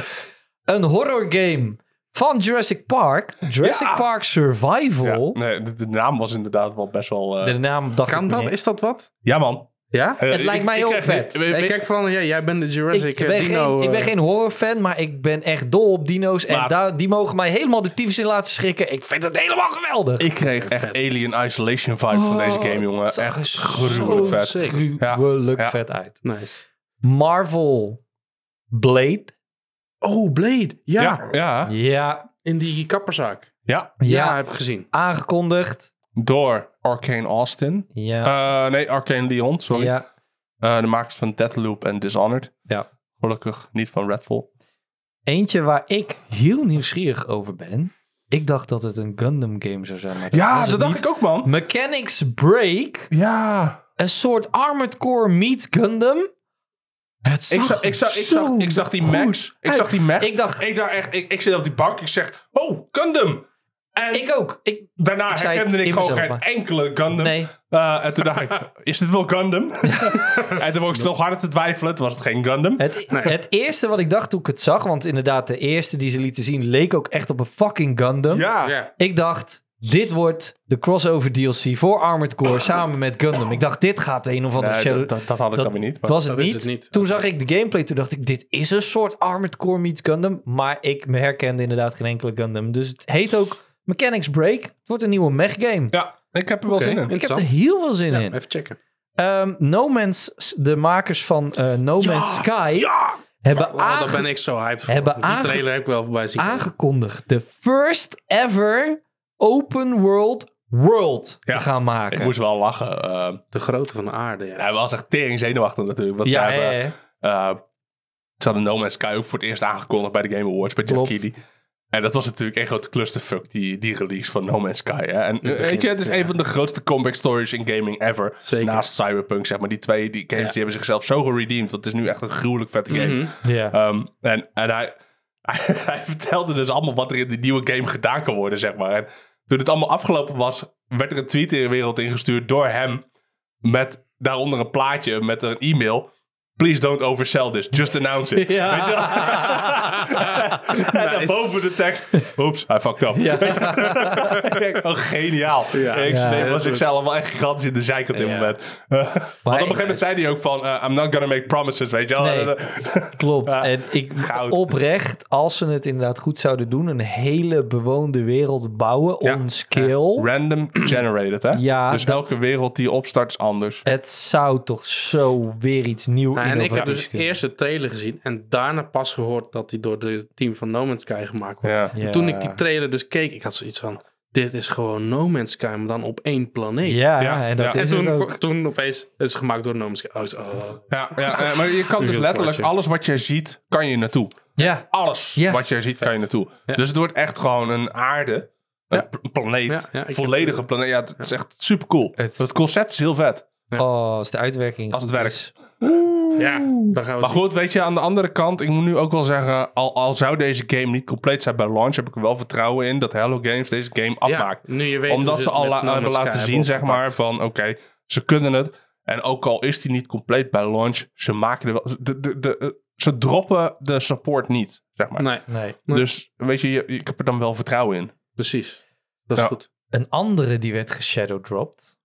Speaker 2: Een horror game van Jurassic Park. Jurassic
Speaker 4: Ja.
Speaker 2: Park Survival.
Speaker 4: Nee, de, de naam was inderdaad wel best wel... eh,
Speaker 2: De naam dacht
Speaker 3: Kan
Speaker 2: ik
Speaker 3: dat?
Speaker 2: niet.
Speaker 3: Is dat wat?
Speaker 4: Ja, man.
Speaker 3: Ja?
Speaker 4: Eh,
Speaker 2: Het lijkt mij heel
Speaker 4: krijg-
Speaker 2: vet.
Speaker 4: weet-
Speaker 3: Ik
Speaker 4: weet-
Speaker 3: kijk vooral naar jij. Jij bent de
Speaker 2: Ik,
Speaker 4: Dus
Speaker 3: Jurassic eh,
Speaker 2: ben
Speaker 3: Dino.
Speaker 2: geen, ik ben
Speaker 3: eh,
Speaker 2: geen horrorfan, maar ik ben echt dol op dino's. En
Speaker 4: Maar-
Speaker 2: daar- die mogen mij helemaal de tyfus in laten schrikken. Ik vind het helemaal geweldig.
Speaker 4: Ik kreeg echt Alien Isolation vibe van deze game, jongen.
Speaker 2: Oh, het zag
Speaker 4: Echt
Speaker 2: er
Speaker 4: gruwelijk
Speaker 2: zo
Speaker 4: vet.
Speaker 3: sick.
Speaker 2: gruwelijk
Speaker 4: Ja.
Speaker 2: vet uit.
Speaker 3: Nice.
Speaker 2: Marvel Blade.
Speaker 3: Oh, Blade. Ja.
Speaker 4: Ja, ja, ja.
Speaker 2: Ja,
Speaker 3: In die kapperzak.
Speaker 2: ja.
Speaker 3: Ja, heb ik gezien.
Speaker 2: aangekondigd.
Speaker 4: Door Arcane Austin.
Speaker 2: Ja,
Speaker 4: Eh, nee, Arcane Leon, sorry.
Speaker 2: ja.
Speaker 4: Eh, de makers van Deathloop en Dishonored.
Speaker 2: Ja.
Speaker 4: Gelukkig niet van Redfall.
Speaker 2: Eentje waar ik heel nieuwsgierig over ben. Ik dacht dat het een Gundam game zou zijn. maar was
Speaker 4: Ja,
Speaker 2: het
Speaker 4: dat dacht
Speaker 2: niet.
Speaker 4: ik ook, man.
Speaker 2: Mechanics Break.
Speaker 4: Ja.
Speaker 2: Een soort Armored Core meets Gundam. Het
Speaker 4: Ik
Speaker 2: zag
Speaker 4: zag, ik, zag, ik, zag, ik zag die Max. Ik zag die Max.
Speaker 2: Ik dacht-
Speaker 4: Ik, dacht echt, ik, ik zit op die bank. Ik zeg, oh, Gundam. En
Speaker 2: Ik ook. Ik,
Speaker 4: daarna
Speaker 2: ik zei
Speaker 4: herkende
Speaker 2: het
Speaker 4: ik
Speaker 2: in
Speaker 4: gewoon geen
Speaker 2: mezelf, maar-
Speaker 4: enkele Gundam.
Speaker 2: nee.
Speaker 4: Eh, en toen dacht ik, is dit wel Gundam? en toen was ik toch harder te twijfelen. Toen was het geen Gundam.
Speaker 2: Het, het eerste wat ik dacht toen ik het zag, want inderdaad, de eerste die ze lieten zien leek ook echt op een fucking Gundam.
Speaker 4: Ja.
Speaker 3: Ja.
Speaker 2: Ik dacht, dit wordt de crossover DLC voor Armored Core samen met Gundam. Ik dacht, dit gaat een of andere
Speaker 4: Nee,
Speaker 2: Shadow.
Speaker 4: dat, dat, dat had ik
Speaker 2: dat-
Speaker 4: dan weer niet.
Speaker 2: Het
Speaker 4: maar-
Speaker 2: was het
Speaker 3: Dat is
Speaker 2: niet.
Speaker 3: het niet.
Speaker 2: Toen zag ik de gameplay, toen dacht ik, dit is een soort Armored Core meets Gundam. Maar ik herkende inderdaad geen enkele Gundam. Dus het heet ook Mechanics Break. Het wordt een nieuwe mech game.
Speaker 4: Ja, ik heb er wel
Speaker 3: Oké.
Speaker 4: zin in.
Speaker 2: Ik heb er heel veel zin in.
Speaker 3: Even checken.
Speaker 2: Ehm, no Man's, de makers van eh, No Man's Sky, hebben
Speaker 3: Oh, daar
Speaker 2: aange-
Speaker 3: ben ik zo hyped voor.
Speaker 2: Hebben
Speaker 3: die
Speaker 2: aange-
Speaker 3: trailer heb ik wel voorbij zien. komen.
Speaker 2: aangekondigd de first ever open world world
Speaker 4: Ja.
Speaker 2: te gaan maken.
Speaker 4: Ik moest wel lachen. eh,
Speaker 3: De grootte van de aarde, ja.
Speaker 4: hij was echt tering zenuwachtig natuurlijk. Want
Speaker 2: ja,
Speaker 4: ze,
Speaker 2: hè,
Speaker 4: hebben,
Speaker 2: hè.
Speaker 4: eh, ze hadden No Man's Sky ook voor het eerst aangekondigd bij de Game Awards bij Jeff
Speaker 2: Klopt.
Speaker 4: Keighley. En dat was natuurlijk een grote clusterfuck, die, die release van No Man's Sky. Hè? En eh, weet
Speaker 3: begin,
Speaker 4: je, het is
Speaker 3: ja.
Speaker 4: een van de grootste comeback stories in gaming ever.
Speaker 3: Zeker.
Speaker 4: Naast Cyberpunk, zeg maar. Die twee die games
Speaker 3: Ja.
Speaker 4: die hebben zichzelf zo geredeemd. Want het is nu echt een gruwelijk vette game.
Speaker 3: Mhm.
Speaker 2: Ja.
Speaker 4: Ehm, en en hij, hij vertelde dus allemaal wat er in die nieuwe game gedaan kan worden, zeg maar. En toen het allemaal afgelopen was, werd er een tweet in de wereld ingestuurd door hem. Met daaronder een plaatje, met een e-mail. Please don't oversell this, just announce it.
Speaker 2: Ja.
Speaker 4: Weet je wel? en
Speaker 3: Nice.
Speaker 4: daarboven de tekst, oops, hij fucked up. Weet je wel? oh, geniaal. ik
Speaker 2: Ja,
Speaker 4: ja,
Speaker 3: heel
Speaker 4: was
Speaker 3: goed.
Speaker 4: zichzelf allemaal echt gigantisch in de zeik op dit
Speaker 3: Ja.
Speaker 4: moment. Want op een gegeven moment zei hij ook van, eh, I'm not gonna make promises, weet je wel.
Speaker 2: Nee. Klopt.
Speaker 4: Ja,
Speaker 2: en ik
Speaker 4: goud.
Speaker 2: oprecht, als ze het inderdaad goed zouden doen, een hele bewoonde wereld bouwen,
Speaker 4: Ja.
Speaker 2: on skill.
Speaker 4: Random generated, hè?
Speaker 2: Ja,
Speaker 4: dus
Speaker 2: dat-
Speaker 4: elke wereld die opstart is anders.
Speaker 2: Het zou toch zo weer iets nieuws
Speaker 3: Nou,
Speaker 2: zijn.
Speaker 3: en ik heb dus eerst de trailer gezien en daarna pas gehoord dat die door het team van No Man's Sky gemaakt wordt.
Speaker 4: Ja.
Speaker 3: En Toen ik die trailer dus keek, ik had zoiets van, dit is gewoon No Man's Sky, maar dan op één planeet.
Speaker 2: Ja,
Speaker 4: Ja,
Speaker 2: en dat
Speaker 4: ja.
Speaker 2: is
Speaker 3: En toen,
Speaker 2: het ook.
Speaker 3: ko- toen opeens, het is gemaakt door No Man's Sky. Oh, is- oh.
Speaker 4: Ja, ja, eh, maar je kan dus
Speaker 3: Heel
Speaker 4: letterlijk
Speaker 3: kortje.
Speaker 4: alles wat jij ziet, kan je naartoe.
Speaker 2: Ja,
Speaker 4: Alles
Speaker 2: Ja.
Speaker 4: wat jij ziet, kan je naartoe. Dus het wordt echt gewoon een aarde, een pl- planeet,
Speaker 3: Ja, ja, ik heb-
Speaker 4: volledige planeet. Ja, het is echt super cool.
Speaker 2: Het-
Speaker 4: Het... concept is heel vet,
Speaker 2: oh, als de uitwerking.
Speaker 4: als het
Speaker 2: goed
Speaker 4: werkt.
Speaker 2: is.
Speaker 3: Ja, dan gaan we
Speaker 4: Maar
Speaker 3: zien.
Speaker 4: goed, weet je, aan de andere kant, ik moet nu ook wel zeggen, al, al zou deze game niet compleet zijn bij launch, heb ik er wel vertrouwen in dat Hello Games deze game
Speaker 3: Ja,
Speaker 4: afmaakt.
Speaker 3: nu je weet hoe
Speaker 4: Omdat ze
Speaker 3: het
Speaker 4: al
Speaker 3: met
Speaker 4: la-
Speaker 3: No
Speaker 4: hebben
Speaker 3: Man's Sky
Speaker 4: laten zien, zeg maar,
Speaker 3: opgepakt.
Speaker 4: van oké, ze kunnen het. En ook al is die niet compleet bij launch, ze maken er wel... De, de, de, ze droppen de support niet, zeg maar.
Speaker 3: Nee,
Speaker 2: Nee.
Speaker 3: nee.
Speaker 4: Dus weet je, je- ik heb er dan wel vertrouwen in.
Speaker 3: precies. Dat is
Speaker 4: Ja.
Speaker 3: goed.
Speaker 2: Een andere die werd geshadowdropped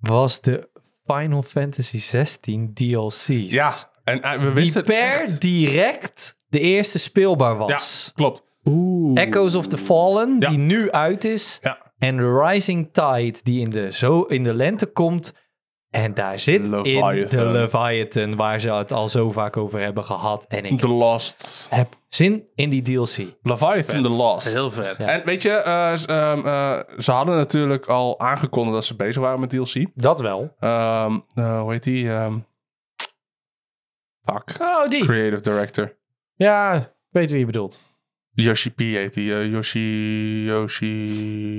Speaker 2: was de Final Fantasy 16 DLC's.
Speaker 4: Ja, en eh, we
Speaker 2: Die
Speaker 4: wisten... het
Speaker 2: per
Speaker 4: echt.
Speaker 2: direct de eerste speelbaar was.
Speaker 4: Klopt.
Speaker 3: Oeh.
Speaker 2: Echoes of the Fallen,
Speaker 4: Ja.
Speaker 2: die nu uit is.
Speaker 4: Ja.
Speaker 2: En The Rising Tide, die in de, zo in de lente komt. En daar zit in de
Speaker 4: Leviathan.
Speaker 2: Leviathan, waar ze het al zo vaak over hebben gehad. En ik
Speaker 4: The Lost.
Speaker 2: heb zin in die DLC.
Speaker 4: Leviathan The Lost.
Speaker 3: Heel vet.
Speaker 4: En weet je, eh, s- ehm, eh, ze hadden natuurlijk al aangekondigd dat ze bezig waren met DLC.
Speaker 2: Dat wel.
Speaker 4: Ehm, eh, hoe heet die? Ehm, fuck.
Speaker 2: Oh, die.
Speaker 4: Creative Director.
Speaker 2: Ja, ik weet wie je bedoelt.
Speaker 4: Yoshi P heet die. eh, Yoshi, Yoshi,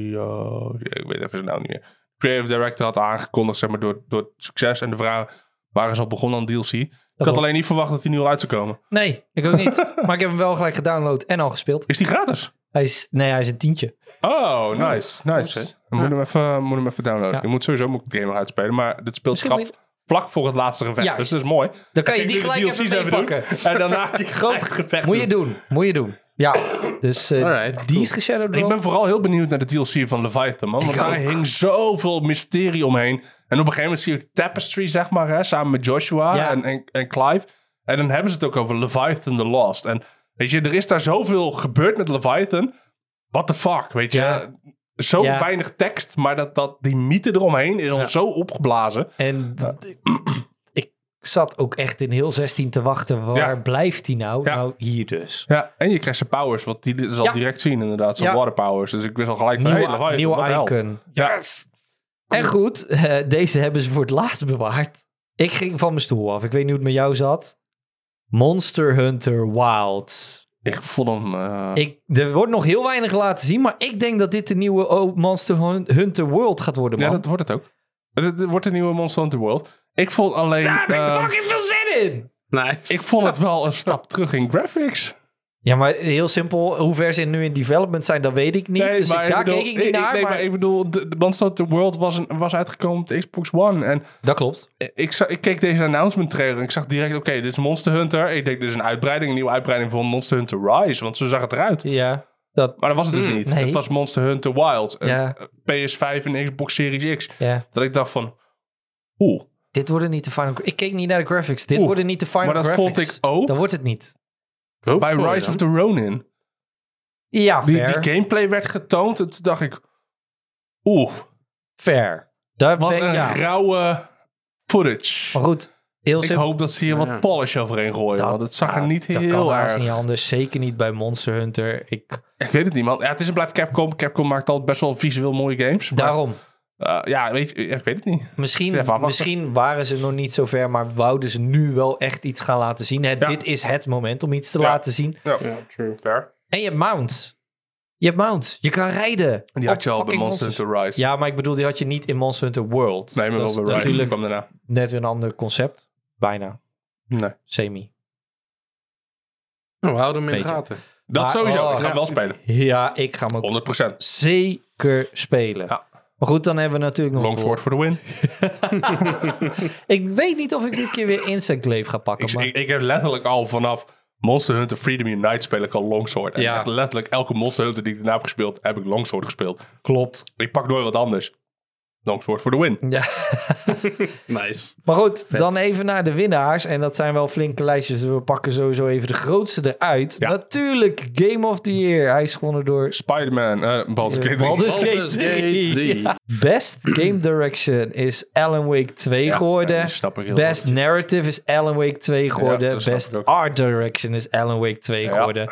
Speaker 4: Yo- ik weet even zijn naam niet meer. Creative Director had aangekondigd, zeg maar, door, door het succes en de vraag waren ze al begonnen aan DLC. Ik had
Speaker 2: klopt.
Speaker 4: alleen niet verwacht dat die nu al uit zou komen.
Speaker 2: Nee, ik ook niet. maar ik heb hem wel gelijk gedownload en al gespeeld.
Speaker 4: Is die gratis?
Speaker 2: Hij is, nee, hij is een tientje.
Speaker 4: Oh, nice, nice.
Speaker 3: Nice.
Speaker 4: Ik moet, hem even, moet hem even downloaden.
Speaker 2: Ja.
Speaker 4: Je moet sowieso moet ik de game nog uitspelen, maar dit speelt
Speaker 2: Misschien
Speaker 4: graf
Speaker 2: moet
Speaker 4: vlak voor het laatste gevecht,
Speaker 2: Juist.
Speaker 4: dus dat is mooi.
Speaker 2: Dan kan je
Speaker 4: Ik
Speaker 2: die
Speaker 4: wil de
Speaker 2: gelijk
Speaker 4: DLC's
Speaker 2: even pakken.
Speaker 4: doen. En daarna die grote gevecht
Speaker 2: Moet je doen, moet je doen. Ja, dus eh,
Speaker 3: Alright,
Speaker 2: die
Speaker 3: cool.
Speaker 2: is geshadowdropped.
Speaker 4: Ik ben vooral heel benieuwd naar de DLC van Leviathan, man. Want
Speaker 2: Ik
Speaker 4: daar
Speaker 2: ook.
Speaker 4: hing zoveel mysterie omheen. En op een gegeven moment zie ik Tapestry, zeg maar, hè, samen met Joshua
Speaker 2: Ja.
Speaker 4: en, en, en Clive. En dan hebben ze het ook over Leviathan the Lost. En weet je, er is daar zoveel gebeurd met Leviathan. What the fuck, weet je.
Speaker 2: Ja.
Speaker 4: Zo
Speaker 2: Ja.
Speaker 4: weinig tekst, maar dat, dat, die mythe eromheen is al zo opgeblazen.
Speaker 2: En d- ik zat ook echt in heel 16 te wachten. Waar
Speaker 4: Ja.
Speaker 2: blijft die nou?
Speaker 4: Ja.
Speaker 2: Nou, hier dus.
Speaker 4: Ja, en je krijgt zijn powers, want die zal
Speaker 2: Ja.
Speaker 4: direct zien inderdaad. Zijn
Speaker 2: Ja.
Speaker 4: water powers. Dus ik wist al gelijk van, hey,
Speaker 2: Nieuwe,
Speaker 4: Leviathan,
Speaker 2: nieuwe
Speaker 4: what the hell?
Speaker 2: icon.
Speaker 4: Ja.
Speaker 2: En goed, eh, deze hebben ze voor het laatst bewaard. Ik ging van mijn stoel af. Ik weet niet hoe het met jou zat. Monster Hunter Wilds.
Speaker 4: Ik vond hem... eh,
Speaker 2: Ik, er wordt nog heel weinig laten zien, maar ik denk dat dit de nieuwe oh, Monster Hun- Hunter World gaat worden, man.
Speaker 4: Ja, dat wordt het ook. Het het wordt een nieuwe Monster Hunter World. Ik vond alleen...
Speaker 2: Daar heb ik
Speaker 4: eh,
Speaker 2: fucking veel zin in!
Speaker 3: Nice.
Speaker 4: ik vond het wel een stap terug in graphics.
Speaker 2: Ja, maar heel simpel, hoe ver ze nu in development zijn, dat weet ik niet. dus ik,
Speaker 4: maar
Speaker 2: daar
Speaker 4: bedoel-
Speaker 2: keek ik niet naar,
Speaker 4: nee,
Speaker 2: maar...
Speaker 4: maar... ik bedoel, de, de Monster Hunter World was, een, was uitgekomen op de Xbox One. En
Speaker 2: Dat klopt.
Speaker 4: ik, zag, ik keek deze announcement trailer en ik zag direct... Oké, dit is Monster Hunter. Ik denk, dit is een uitbreiding, een nieuwe uitbreiding van Monster Hunter Rise. Want zo zag het eruit.
Speaker 2: Ja, dat...
Speaker 4: Maar dat was het dus niet.
Speaker 2: Mm, nee.
Speaker 4: Het was Monster Hunter Wild. een
Speaker 2: Ja.
Speaker 4: PS5 en Xbox Series X.
Speaker 2: Ja.
Speaker 4: Dat ik dacht van... Oeh.
Speaker 2: Dit worden niet de final... Ik keek niet naar de graphics. Dit
Speaker 4: Oeh,
Speaker 2: worden niet de final
Speaker 4: maar dat
Speaker 2: graphics.
Speaker 4: vond ik ook.
Speaker 2: Dat wordt het niet.
Speaker 3: Hoop
Speaker 4: Bij
Speaker 3: voor je
Speaker 4: Rise
Speaker 3: dan.
Speaker 4: of the Ronin.
Speaker 2: Ja,
Speaker 4: Die,
Speaker 2: fair.
Speaker 4: die gameplay werd getoond en toen dacht ik... Oeh,
Speaker 2: fair. Daar
Speaker 4: wat
Speaker 2: ben-
Speaker 4: een
Speaker 2: ja.
Speaker 4: grauwe footage.
Speaker 2: Maar goed, heel
Speaker 4: Ik
Speaker 2: simpel.
Speaker 4: hoop dat ze hier
Speaker 3: Ja.
Speaker 4: wat polish overheen gooien. want het zag er
Speaker 2: ja,
Speaker 4: niet
Speaker 2: Dat kan
Speaker 4: heel
Speaker 2: haast
Speaker 4: erg...
Speaker 2: niet anders. Zeker niet bij Monster Hunter. Ik...
Speaker 4: Ik weet het niet, man. Ja, het is en blijft Capcom. Capcom maakt altijd best wel visueel mooie games. maar,
Speaker 2: Daarom.
Speaker 4: eh, ja, weet je, ik weet het niet. Even
Speaker 2: Misschien,
Speaker 4: afwachten.
Speaker 2: misschien waren ze nog niet zo ver, maar wouden ze nu wel echt iets gaan laten zien. Hè, Dit is het moment om iets te
Speaker 4: Ja.
Speaker 2: laten zien.
Speaker 4: Ja,
Speaker 3: Ja, true.
Speaker 4: fair.
Speaker 2: En je hebt mounts. Je hebt mounts. Je kan rijden.
Speaker 4: En die had
Speaker 2: op
Speaker 4: je al bij
Speaker 2: Oh, fucking
Speaker 4: Monster
Speaker 2: monsters.
Speaker 4: Hunter Rise.
Speaker 2: Ja, maar ik bedoel, die had je niet in Monster Hunter World.
Speaker 4: nee, maar
Speaker 2: dat is
Speaker 4: wel bij Rise. Die
Speaker 2: natuurlijk
Speaker 4: kwam daarna.
Speaker 2: net een ander concept. Bijna.
Speaker 4: Nee.
Speaker 2: Semi.
Speaker 3: Nou, we houden hem in de
Speaker 2: Beetje.
Speaker 3: gaten.
Speaker 4: Dat
Speaker 2: Maar-
Speaker 4: sowieso.
Speaker 2: oh,
Speaker 4: ik ga
Speaker 2: ja.
Speaker 4: hem wel spelen.
Speaker 2: Ja, ik ga hem ook
Speaker 4: 100%.
Speaker 2: zeker spelen.
Speaker 4: Ja.
Speaker 2: Maar goed, dan hebben we natuurlijk nog...
Speaker 4: Longsword for the win.
Speaker 2: Ik weet niet of ik dit keer weer Insect Glaive ga pakken.
Speaker 4: Ik,
Speaker 2: maar...
Speaker 4: ik, ik heb letterlijk al vanaf Monster Hunter Freedom Unite speel ik al Longsword. En
Speaker 2: Ja.
Speaker 4: echt letterlijk elke Monster Hunter die ik daarna heb gespeeld, heb ik Longsword gespeeld.
Speaker 2: Klopt.
Speaker 4: Ik pak nooit wat anders. Longsword for the win.
Speaker 2: Ja.
Speaker 3: Nice.
Speaker 2: Maar goed, dan even naar de winnaars. En dat zijn wel flinke lijstjes. Dus we pakken sowieso even de grootste eruit.
Speaker 4: Ja.
Speaker 2: Natuurlijk, Game of the Year. Hij is gewonnen door
Speaker 4: Spider-Man, eh Baldur's Gate 3.
Speaker 2: Baldur's Gate
Speaker 3: Baldur's Gate
Speaker 2: 3.
Speaker 3: drie.
Speaker 2: Ja. Best Game Direction is Alan Wake 2
Speaker 4: Ja,
Speaker 2: geworden.
Speaker 4: ja, die snap ik heel
Speaker 2: Best
Speaker 4: goed.
Speaker 2: Narrative is Alan Wake 2 geworden.
Speaker 4: dat snap ik
Speaker 2: Best
Speaker 4: ook.
Speaker 2: Art Direction is Alan Wake 2
Speaker 4: Ja.
Speaker 2: geworden.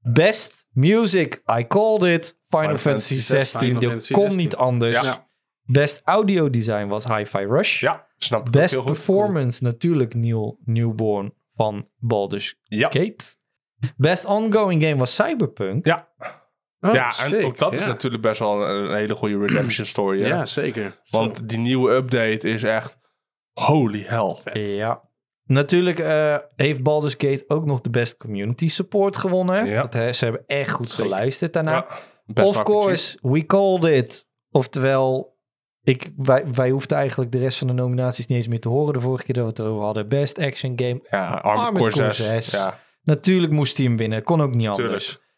Speaker 2: Best Music, I Called It. Final, Fantasy
Speaker 4: Fantasy
Speaker 2: 16,
Speaker 3: Final
Speaker 2: dat
Speaker 3: Fantasy
Speaker 2: kon
Speaker 3: 16.
Speaker 2: niet anders.
Speaker 4: Ja.
Speaker 2: Best Audio Design was Hi-Fi Rush.
Speaker 4: Ja, snap ik ook
Speaker 2: Best
Speaker 4: heel goed.
Speaker 2: Performance, natuurlijk Neil Newborn van Baldur's
Speaker 4: Ja.
Speaker 2: Gate. Best Ongoing Game was Cyberpunk.
Speaker 4: Ja,
Speaker 3: Oh,
Speaker 4: ja en
Speaker 3: sick.
Speaker 4: ook dat is
Speaker 3: Ja.
Speaker 4: natuurlijk best wel een, een hele goede redemption story.
Speaker 3: Ja,
Speaker 4: hè?
Speaker 3: zeker. Zo.
Speaker 4: Want die nieuwe update is echt holy hell.
Speaker 2: Ja. Natuurlijk eh, heeft Baldur's Gate ook nog de Best Community Support gewonnen.
Speaker 4: Ja.
Speaker 2: Dat, hè, ze hebben echt goed
Speaker 4: Zeker.
Speaker 2: geluisterd daarna.
Speaker 4: Ja, best
Speaker 2: Nou, of
Speaker 4: RPG.
Speaker 2: course, we called it. Oftewel, ik, wij, wij hoefden eigenlijk de rest van de nominaties niet eens meer te horen. De vorige keer dat we het erover hadden. Best Action Game.
Speaker 4: Ja, Armored
Speaker 2: Armored
Speaker 4: Core
Speaker 2: Core
Speaker 4: 6.
Speaker 2: 6.
Speaker 4: Ja,
Speaker 2: Natuurlijk moest hij hem winnen. Kon ook niet anders.
Speaker 4: tuurlijk.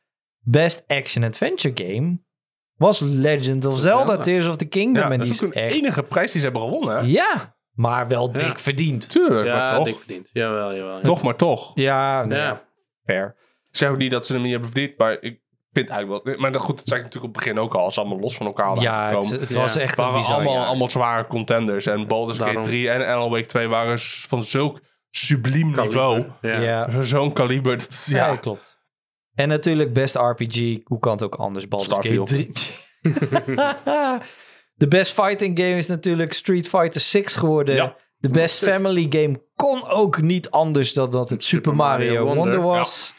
Speaker 2: Best Action Adventure Game was Legend of Zelda,
Speaker 3: Zelda.
Speaker 2: Tears of the Kingdom.
Speaker 4: Ja,
Speaker 2: en
Speaker 4: dat
Speaker 2: die
Speaker 4: is
Speaker 2: is
Speaker 4: ook de
Speaker 2: echt...
Speaker 4: enige prijs die ze hebben gewonnen. Hè?
Speaker 2: Ja, maar wel
Speaker 3: Ja.
Speaker 2: dik verdiend.
Speaker 4: Tuurlijk, maar
Speaker 3: Ja,
Speaker 4: eh, toch.
Speaker 3: dik verdiend. Jawel, jawel. ja.
Speaker 4: Toch maar toch.
Speaker 2: Ja,
Speaker 3: Ja.
Speaker 2: nou ja, fair.
Speaker 4: Ik zeg ook niet dat ze hem niet hebben verdiend, maar ik vind eigenlijk wel... Maar goed, het zijn natuurlijk op het begin ook al. Ze allemaal los van elkaar
Speaker 2: Ja, het,
Speaker 4: aangekomen.
Speaker 2: het was
Speaker 3: Ja.
Speaker 2: echt een
Speaker 4: waren
Speaker 2: bizar
Speaker 4: allemaal,
Speaker 2: jaar.
Speaker 4: allemaal zware contenders. En Baldur's Gate
Speaker 3: Daarom.
Speaker 4: 3 en Alan Wake 2 waren s- van zulk subliem niveau.
Speaker 3: Ja.
Speaker 2: Ja,
Speaker 4: Van zo'n kaliber. Dat, is-
Speaker 2: ja.
Speaker 4: ja,
Speaker 2: klopt. En natuurlijk best RPG, hoe kan het ook anders? Baldur's Gate
Speaker 4: Starfield.
Speaker 2: 3. De best fighting game is natuurlijk Street Fighter 6 geworden.
Speaker 4: Ja.
Speaker 2: De best family game kon ook niet anders dan dat het Super Mario Wonder, was.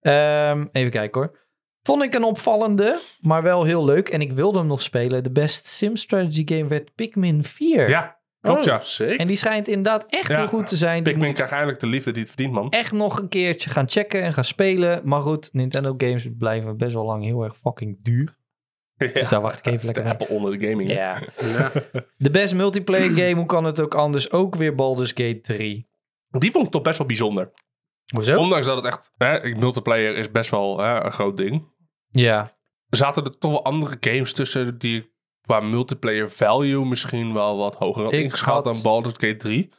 Speaker 2: Ehm, even kijken hoor. Vond ik een opvallende, maar wel heel leuk. En ik wilde hem nog spelen. De best sim strategy game werd Pikmin 4.
Speaker 4: ja klopt ja.
Speaker 3: Oh, sick.
Speaker 2: En die schijnt inderdaad echt
Speaker 4: Ja.
Speaker 2: heel goed te zijn. Die
Speaker 4: Pikmin krijgt eigenlijk de liefde die het verdient, man.
Speaker 2: echt nog een keertje gaan checken en gaan spelen. Maar goed, Nintendo games blijven best wel lang heel erg fucking duur. Dus daar wacht ik even
Speaker 4: de
Speaker 2: lekker naar.
Speaker 4: Apple onder de gaming. hè?
Speaker 2: Ja.
Speaker 3: Ja.
Speaker 2: De best multiplayer game, hoe kan het ook anders? Ook weer Baldur's Gate 3.
Speaker 4: Die vond ik toch best wel bijzonder.
Speaker 2: Hoezo?
Speaker 4: Ondanks dat het echt... Hè, multiplayer is best wel hè, een groot ding.
Speaker 2: Ja.
Speaker 4: zaten er toch wel andere games tussen die qua multiplayer value misschien wel wat hoger had
Speaker 2: Ik
Speaker 4: ingeschaald
Speaker 2: had-
Speaker 4: dan Baldur's Gate 3.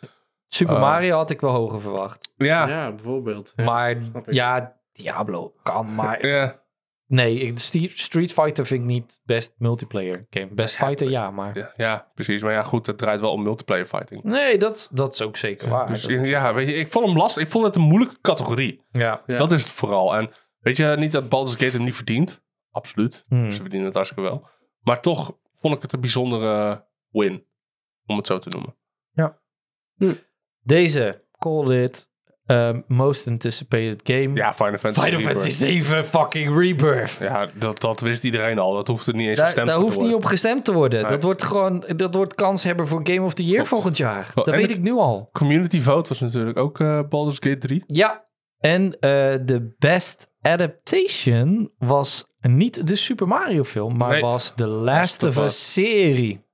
Speaker 2: Super
Speaker 4: Eh.
Speaker 2: Mario had ik wel hoger verwacht.
Speaker 4: Ja, ja.
Speaker 3: Ja, bijvoorbeeld.
Speaker 2: maar
Speaker 3: snap ik.
Speaker 2: ja, Diablo kan, maar... Nee, ik- Ste- Street Fighter vind ik niet best multiplayer game. Best Fighter, ja, maar...
Speaker 4: Ja, ja, precies. Maar ja, goed, het draait wel om multiplayer fighting.
Speaker 2: Nee, dat, dat is ook zeker waar.
Speaker 4: Dus
Speaker 2: Dat-
Speaker 4: ja, weet je, ik vond hem lastig. Ik vond het een moeilijke categorie.
Speaker 2: Ja.
Speaker 3: Ja.
Speaker 4: Dat is het vooral. En weet je, niet dat Baldur's Gate hem niet verdient. Absoluut.
Speaker 2: Hmm.
Speaker 4: Ze verdienen het hartstikke wel. Maar toch vond ik het een bijzondere win. Om het zo te noemen.
Speaker 2: Deze, call it ehm, most anticipated game.
Speaker 4: Ja, Final Fantasy.
Speaker 2: Hm. Final
Speaker 4: Rebirth.
Speaker 2: Fantasy 7 fucking Rebirth.
Speaker 4: Ja, dat, dat wist iedereen al. Dat hoeft er niet eens
Speaker 2: Daar,
Speaker 4: gestemd
Speaker 2: daar
Speaker 4: voor te
Speaker 2: hoeft niet op
Speaker 4: worden.
Speaker 2: gestemd te worden.
Speaker 4: Nee.
Speaker 2: Dat wordt gewoon dat wordt kanshebber voor Game of the Year
Speaker 4: Klopt.
Speaker 2: volgend jaar.
Speaker 4: Wel,
Speaker 2: dat
Speaker 4: en
Speaker 2: weet
Speaker 4: de-
Speaker 2: ik nu al.
Speaker 4: Community Vote was natuurlijk ook eh, Baldur's Gate 3.
Speaker 2: Ja. En eh, de best adaptation was niet de Super Mario film, maar
Speaker 4: Nee.
Speaker 2: was de Last of Us serie.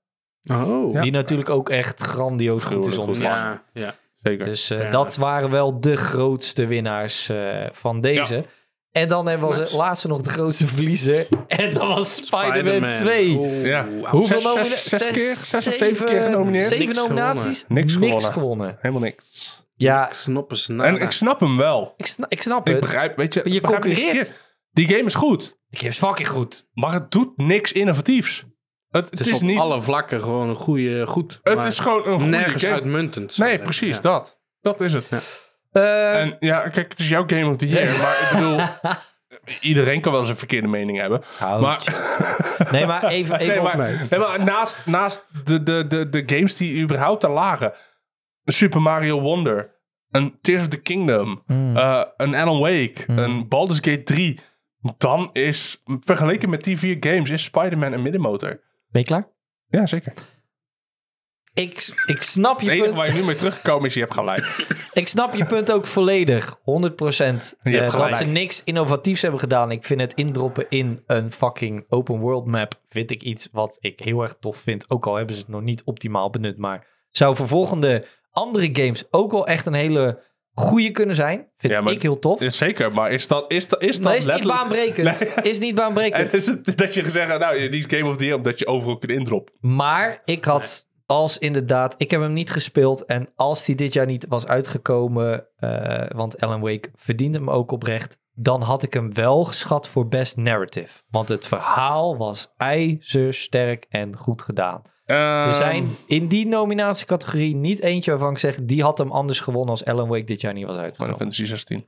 Speaker 3: Oh.
Speaker 2: Die natuurlijk ook echt grandioos goed is
Speaker 4: Gruwelijk goed.
Speaker 2: ontvangen.
Speaker 3: Ja, ja.
Speaker 4: Zeker.
Speaker 2: Dus eh,
Speaker 3: Fair
Speaker 2: dat waren wel de grootste winnaars eh, van deze. En dan hebben we als
Speaker 3: Nice.
Speaker 2: laatste nog de grootste verliezer. En dat was Spider-Man,
Speaker 3: Spider-Man.
Speaker 2: 2.
Speaker 3: Oeh,
Speaker 4: Ja.
Speaker 3: ouwe.
Speaker 2: Hoeveel
Speaker 4: Zes- zes-
Speaker 2: nomina-
Speaker 4: zes keer? Zes of
Speaker 2: zeven-
Speaker 4: zeven keer genomineerd?
Speaker 2: Zeven
Speaker 3: Niks
Speaker 2: nominaties?
Speaker 3: gewonnen.
Speaker 4: Niks gewonnen.
Speaker 2: gewonnen.
Speaker 4: Helemaal niks.
Speaker 2: Ja,
Speaker 3: Ik snap Nou, eens na.
Speaker 4: En ik snap hem wel.
Speaker 2: ik, sna- ik snap
Speaker 4: Ik
Speaker 2: het.
Speaker 4: begrijp, weet je...
Speaker 2: je
Speaker 4: ik begrijp niet
Speaker 2: concurreert.
Speaker 4: verkeerd. Die game is goed,
Speaker 2: Ik heb fucking goed.
Speaker 4: maar het doet niks innovatiefs. Het,
Speaker 3: het
Speaker 4: het
Speaker 3: is,
Speaker 4: is,
Speaker 3: op
Speaker 4: niet...
Speaker 3: alle vlakken gewoon een goede, goed.
Speaker 4: Het
Speaker 3: maar
Speaker 4: is gewoon een goede
Speaker 3: nergens
Speaker 4: game.
Speaker 3: uitmuntend. zou
Speaker 4: Nee,
Speaker 3: ik zeggen.
Speaker 4: precies,
Speaker 3: Ja.
Speaker 4: dat. Dat is het.
Speaker 2: Eh,
Speaker 4: En ja, kijk, het is jouw game of the year, maar ik bedoel... Iedereen kan wel eens een verkeerde mening hebben. Maar...
Speaker 2: nee, maar even, even
Speaker 4: Nee,
Speaker 2: op
Speaker 4: maar,
Speaker 2: mij.
Speaker 4: nee, maar naast, naast de, de, de, de games die überhaupt daar lagen. Super Mario Hmm. Wonder. Een Tears of the Kingdom. eh, een Alan Wake. Een Baldur's Gate 3. Dan is, vergeleken met die vier games, is Spider-Man een middenmotor.
Speaker 2: Ben je klaar?
Speaker 4: Ja, zeker.
Speaker 2: Ik, ik, snap je
Speaker 4: Het enige
Speaker 2: punt,
Speaker 4: waar je nu mee teruggekomen is, je hebt gelijk.
Speaker 2: ik snap je punt ook volledig. 100%. eh,
Speaker 4: hebt
Speaker 2: dat
Speaker 4: gelijk.
Speaker 2: ze niks innovatiefs hebben gedaan. Ik vind het indroppen in een fucking open world map. Vind ik iets wat ik heel erg tof vind. Ook al hebben ze het nog niet optimaal benut. Maar zou voor volgende andere games ook wel echt een hele goede kunnen zijn. Vind
Speaker 4: Ja, maar-
Speaker 2: ik heel tof.
Speaker 4: Ja, Zeker, maar is dat, is dat, is dat
Speaker 2: Maar is niet
Speaker 4: letterlijk-
Speaker 2: baanbrekend.
Speaker 4: Nee.
Speaker 2: Is niet baanbrekend.
Speaker 4: Het is het, dat je gezegd hebt, nou, die Game of the Year, omdat je overal kunt indroppen.
Speaker 2: Maar ik had als inderdaad, ik heb hem niet gespeeld. En als die dit jaar niet was uitgekomen, eh, want Alan Wake verdiende hem ook oprecht. Dan had ik hem wel geschat voor best narrative. Want het verhaal was ijzersterk en goed gedaan.
Speaker 4: Ehm,
Speaker 2: Er zijn in die nominatiecategorie niet eentje waarvan ik zeg... die had hem anders gewonnen als Alan Wake dit jaar niet was
Speaker 4: Final
Speaker 2: uitgekomen.
Speaker 4: Fantasy 16.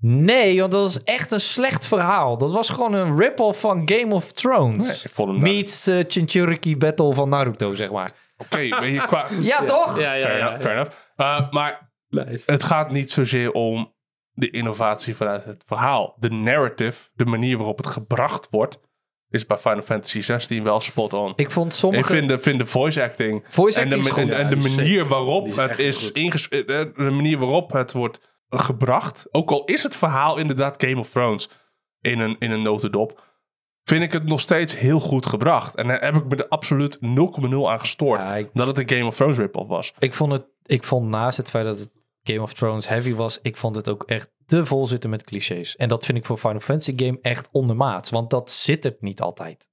Speaker 2: Nee, want dat was echt een slecht verhaal. Dat was gewoon een rip-off van Game of Thrones.
Speaker 4: Nee, ik vond hem daar-
Speaker 2: Meets eh, Chinchuriki Battle van Naruto, zeg maar.
Speaker 4: Oké, weet je, qua...
Speaker 2: Ja, toch?
Speaker 3: Ja, ja,
Speaker 4: Fair
Speaker 3: ja.
Speaker 4: enough, fair enough. Eh, maar
Speaker 3: Nice.
Speaker 4: het gaat niet zozeer om de innovatie vanuit het verhaal. De narrative, de manier waarop het gebracht wordt, is bij Final Fantasy 16 wel spot on.
Speaker 2: Ik vond
Speaker 4: Ik,
Speaker 2: sommige...
Speaker 4: vind, de, vind de voice acting
Speaker 2: Voice
Speaker 4: en de,
Speaker 2: acting is
Speaker 4: en-
Speaker 2: goed.
Speaker 4: en de
Speaker 3: Ja, die is
Speaker 4: manier
Speaker 3: zeker.
Speaker 4: waarop
Speaker 3: Die is
Speaker 4: het
Speaker 3: echt
Speaker 4: is
Speaker 3: goed.
Speaker 4: inges- eh, de manier waarop het wordt gebracht, ook al is het verhaal inderdaad Game of Thrones in een, in een notendop, vind ik het nog steeds heel goed gebracht. En daar heb ik me er absoluut 0,0 aan gestoord
Speaker 2: Ja, ik-
Speaker 4: dat het een Game of Thrones rip-off was.
Speaker 2: Ik vond het... Ik vond naast het feit dat het Game of Thrones heavy was... Ik vond het ook echt te vol zitten met clichés. En dat vind ik voor Final Fantasy game echt ondermaats. Want dat zit het niet altijd.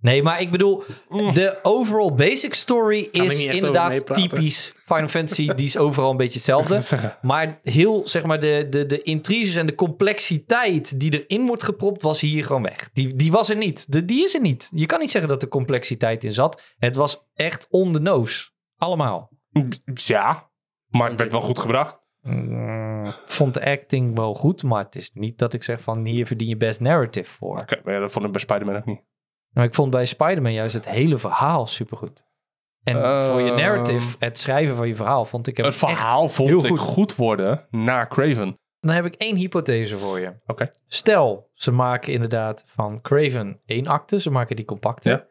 Speaker 2: Nee, maar ik bedoel... De overall basic story
Speaker 3: ik
Speaker 2: is
Speaker 3: Mm. niet echt over
Speaker 2: inderdaad
Speaker 3: meepraten.
Speaker 2: typisch Final Fantasy. Die is overal een beetje
Speaker 4: Dat
Speaker 2: hetzelfde.
Speaker 4: zeggen.
Speaker 2: Maar heel, zeg maar, de, de, de intriges en de complexiteit die erin wordt gepropt, was hier gewoon weg. Die, die was er niet. De, die is er niet. Je kan niet zeggen dat er complexiteit in zat. Het was echt on the nose. Allemaal.
Speaker 4: Ja, maar het werd wel goed gebracht.
Speaker 2: Mm, Vond de acting wel goed, maar het is niet dat ik zeg van hier verdien je best narrative voor.
Speaker 4: Oké, maar ja, dat vond ik bij Spider-Man ook niet.
Speaker 2: Maar Nou, ik vond bij Spider-Man juist het hele verhaal supergoed. En
Speaker 4: Ehm.
Speaker 2: voor je narrative, het schrijven van je verhaal, vond ik hem
Speaker 4: Het
Speaker 2: echt
Speaker 4: verhaal
Speaker 2: heel
Speaker 4: vond ik
Speaker 2: goed.
Speaker 4: goed. worden na Craven.
Speaker 2: Dan heb ik één hypothese voor je.
Speaker 4: Oké.
Speaker 2: Stel, ze maken inderdaad van Craven één acte. Ze maken die compacte.
Speaker 4: Ja.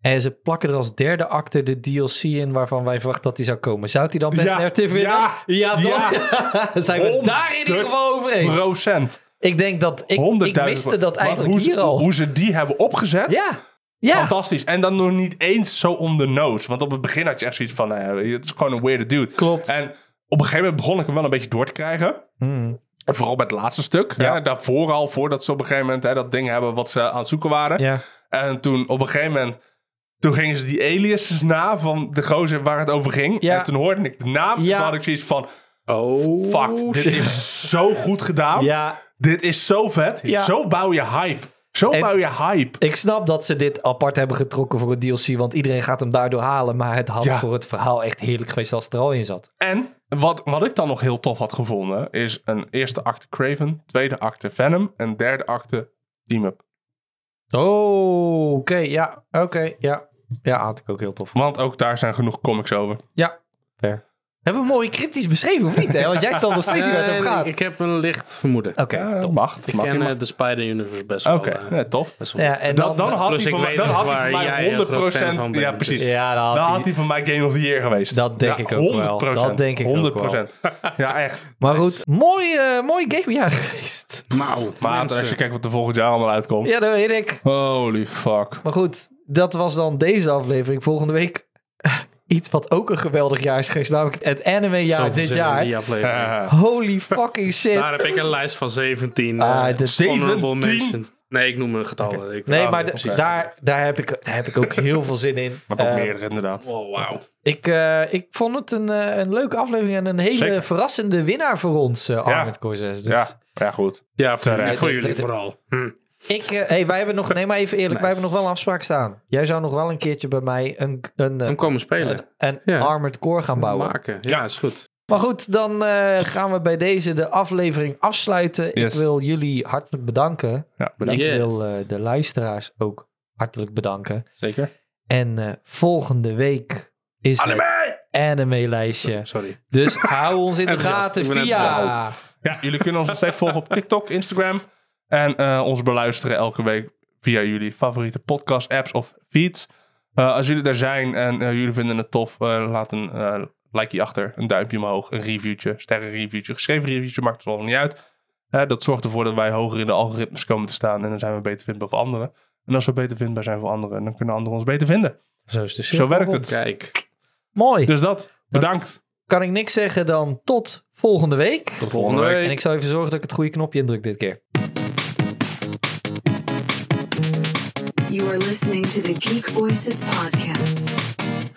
Speaker 2: En ze plakken er als derde acte de DLC in waarvan wij verwachten dat die zou komen. Zou die dan best
Speaker 4: Ja,
Speaker 2: narrative winnen?
Speaker 4: ja, ja.
Speaker 2: toch? Zijn we daar in ieder geval over eens?
Speaker 4: Procent.
Speaker 2: Ik denk dat... Ik, ik
Speaker 4: 100.000
Speaker 2: miste dat
Speaker 4: Want
Speaker 2: eigenlijk
Speaker 4: hoe ze,
Speaker 2: hier al.
Speaker 4: Hoe ze die hebben opgezet.
Speaker 2: ja. Ja.
Speaker 4: Fantastisch. En dan nog niet eens zo on the nose. Want op het begin had je echt zoiets van, nou ja, weet je, het is gewoon een weirde dude.
Speaker 2: Klopt.
Speaker 4: En op een gegeven moment begon ik hem wel een beetje door te krijgen.
Speaker 2: Hmm.
Speaker 4: En vooral bij het laatste stuk.
Speaker 2: Ja.
Speaker 4: hè, daarvoor al, voordat ze op een gegeven moment hè, dat ding hebben wat ze aan het zoeken waren.
Speaker 2: Ja.
Speaker 4: En toen op een gegeven moment. Toen gingen ze die aliases na van de gozer waar het over ging.
Speaker 2: Ja.
Speaker 4: En toen hoorde ik de naam.
Speaker 2: Ja.
Speaker 4: Toen had ik zoiets van:
Speaker 3: Oh,
Speaker 4: fuck, dit
Speaker 3: shit.
Speaker 4: is zo goed gedaan.
Speaker 2: ja.
Speaker 4: Dit is zo vet.
Speaker 2: Ja.
Speaker 4: Zo bouw je hype. Zo
Speaker 2: En-
Speaker 4: bouw je hype.
Speaker 2: Ik snap dat ze dit apart hebben getrokken voor een DLC, want iedereen gaat hem daardoor halen. Maar het had
Speaker 4: Ja.
Speaker 2: voor het verhaal echt heerlijk geweest als het er al in zat.
Speaker 4: En wat, wat ik dan nog heel tof had gevonden. Is een eerste acte Craven. Tweede acte Venom. En derde acte Team Up.
Speaker 2: Oh, oké, ja, oké, ja. Ja, had ik ook heel tof.
Speaker 4: Want ook daar zijn genoeg comics over.
Speaker 2: Ja, fair. Hebben we mooi kritisch beschreven, of niet? Hè? Want jij stelt nog steeds niet waar het over
Speaker 3: Eh,
Speaker 2: gaat.
Speaker 3: ik heb een licht vermoeden.
Speaker 2: Oké,
Speaker 4: Ja,
Speaker 2: top.
Speaker 4: mag.
Speaker 3: Ik
Speaker 4: mag,
Speaker 3: ken
Speaker 4: mag.
Speaker 3: eh, de Spider-Universe best
Speaker 4: Oké,
Speaker 3: wel. eh,
Speaker 4: ja, tof.
Speaker 3: best wel.
Speaker 2: Ja, en dan,
Speaker 4: Dan, dan had
Speaker 3: Plus
Speaker 4: hij
Speaker 3: ik
Speaker 4: van mij,
Speaker 3: weet
Speaker 4: dan
Speaker 3: nog
Speaker 4: had hij
Speaker 3: waar
Speaker 4: voor
Speaker 3: jij
Speaker 4: mij
Speaker 3: een
Speaker 4: 100
Speaker 3: groot fan van bent,
Speaker 4: Ja,
Speaker 3: dus-
Speaker 4: precies.
Speaker 2: Ja, dan had
Speaker 4: dan
Speaker 2: hij-
Speaker 4: had hij van mij Game of the Year geweest.
Speaker 2: Dat denk
Speaker 4: Ja,
Speaker 2: ik ook wel.
Speaker 4: 100%.
Speaker 2: Dat denk ik ook
Speaker 4: 100%. Ja, echt.
Speaker 2: Maar goed, mooi, eh mooi gamejaar geweest.
Speaker 3: Mauw,
Speaker 4: Maar
Speaker 3: mensen.
Speaker 4: Nou, als je kijkt wat er volgend jaar allemaal uitkomt.
Speaker 2: Ja, dat weet ik.
Speaker 4: Holy fuck.
Speaker 2: Maar goed, dat was dan deze aflevering. Volgende week iets wat ook een geweldig jaar is geweest, namelijk het
Speaker 3: Zoveel
Speaker 2: anime-jaar dit
Speaker 3: zin in
Speaker 2: jaar.
Speaker 3: die aflevering.
Speaker 4: Eh,
Speaker 2: Holy fucking shit.
Speaker 3: Daar heb ik een lijst van 17
Speaker 2: Ah,
Speaker 3: eh,
Speaker 2: dit-
Speaker 3: honorable
Speaker 4: 17?
Speaker 3: mentions. Nee, ik noem een getal. Ik, Oh,
Speaker 2: Nee,
Speaker 4: Ja,
Speaker 2: maar
Speaker 4: precies.
Speaker 2: de- daar, daar, heb ik, daar heb ik ook heel veel zin in.
Speaker 4: Maar ook
Speaker 2: Eh,
Speaker 4: meerdere inderdaad.
Speaker 3: Oh, wauw.
Speaker 2: Ik, eh, ik vond het een, eh, een leuke aflevering en een hele
Speaker 4: Zeker.
Speaker 2: verrassende winnaar voor ons, eh Armored Core 6. Dus
Speaker 4: Ja, ja, goed.
Speaker 3: Ja, voor,
Speaker 4: Terecht.
Speaker 3: voor
Speaker 2: Dit-
Speaker 3: jullie
Speaker 2: dit-
Speaker 3: vooral. Hm.
Speaker 2: ik, eh, hey, wij hebben nog, nee maar even eerlijk, wij hebben nog wel een afspraak staan. Jij zou nog wel een keertje bij mij een, een, eh,
Speaker 3: Hem komen spelen.
Speaker 2: een, een
Speaker 3: Ja.
Speaker 2: Armored Core gaan bouwen.
Speaker 3: Maken. Ja, is goed.
Speaker 2: Maar goed, dan eh, gaan we bij deze de aflevering afsluiten.
Speaker 4: Yes.
Speaker 2: Ik wil jullie hartelijk bedanken.
Speaker 4: Ja,
Speaker 2: Ik
Speaker 4: bedankt.
Speaker 3: Yes.
Speaker 2: wil eh, de luisteraars ook hartelijk bedanken.
Speaker 4: Zeker.
Speaker 2: En eh, volgende week is het anime-lijstje.
Speaker 3: Sorry.
Speaker 2: Dus hou ons in de
Speaker 3: Enthousiast,
Speaker 2: gaten
Speaker 3: ik ben
Speaker 2: via...
Speaker 3: enthousiast.
Speaker 4: Ja, jullie kunnen ons nog steeds volgen op TikTok, Instagram. En eh, ons beluisteren elke week via jullie favoriete podcast, apps of feeds. Eh, als jullie daar zijn en eh, jullie vinden het tof, eh, laat een eh likeje achter, een duimpje omhoog, een reviewtje, sterrenreviewtje, geschreven reviewtje, maakt het wel niet uit. Eh, dat zorgt ervoor dat wij hoger in de algoritmes komen te staan en dan zijn we beter vindbaar voor anderen. En als we beter vindbaar zijn voor anderen, dan kunnen anderen ons beter vinden.
Speaker 2: Zo is de
Speaker 4: Zo werkt het.
Speaker 3: Kijk,
Speaker 2: Mooi.
Speaker 4: Dus dat, bedankt.
Speaker 2: Kan ik niks zeggen dan tot volgende week.
Speaker 3: tot volgende week.
Speaker 2: En ik zal even zorgen dat ik het goede knopje indruk dit keer.
Speaker 1: You are listening to the Geek Voices Podcast.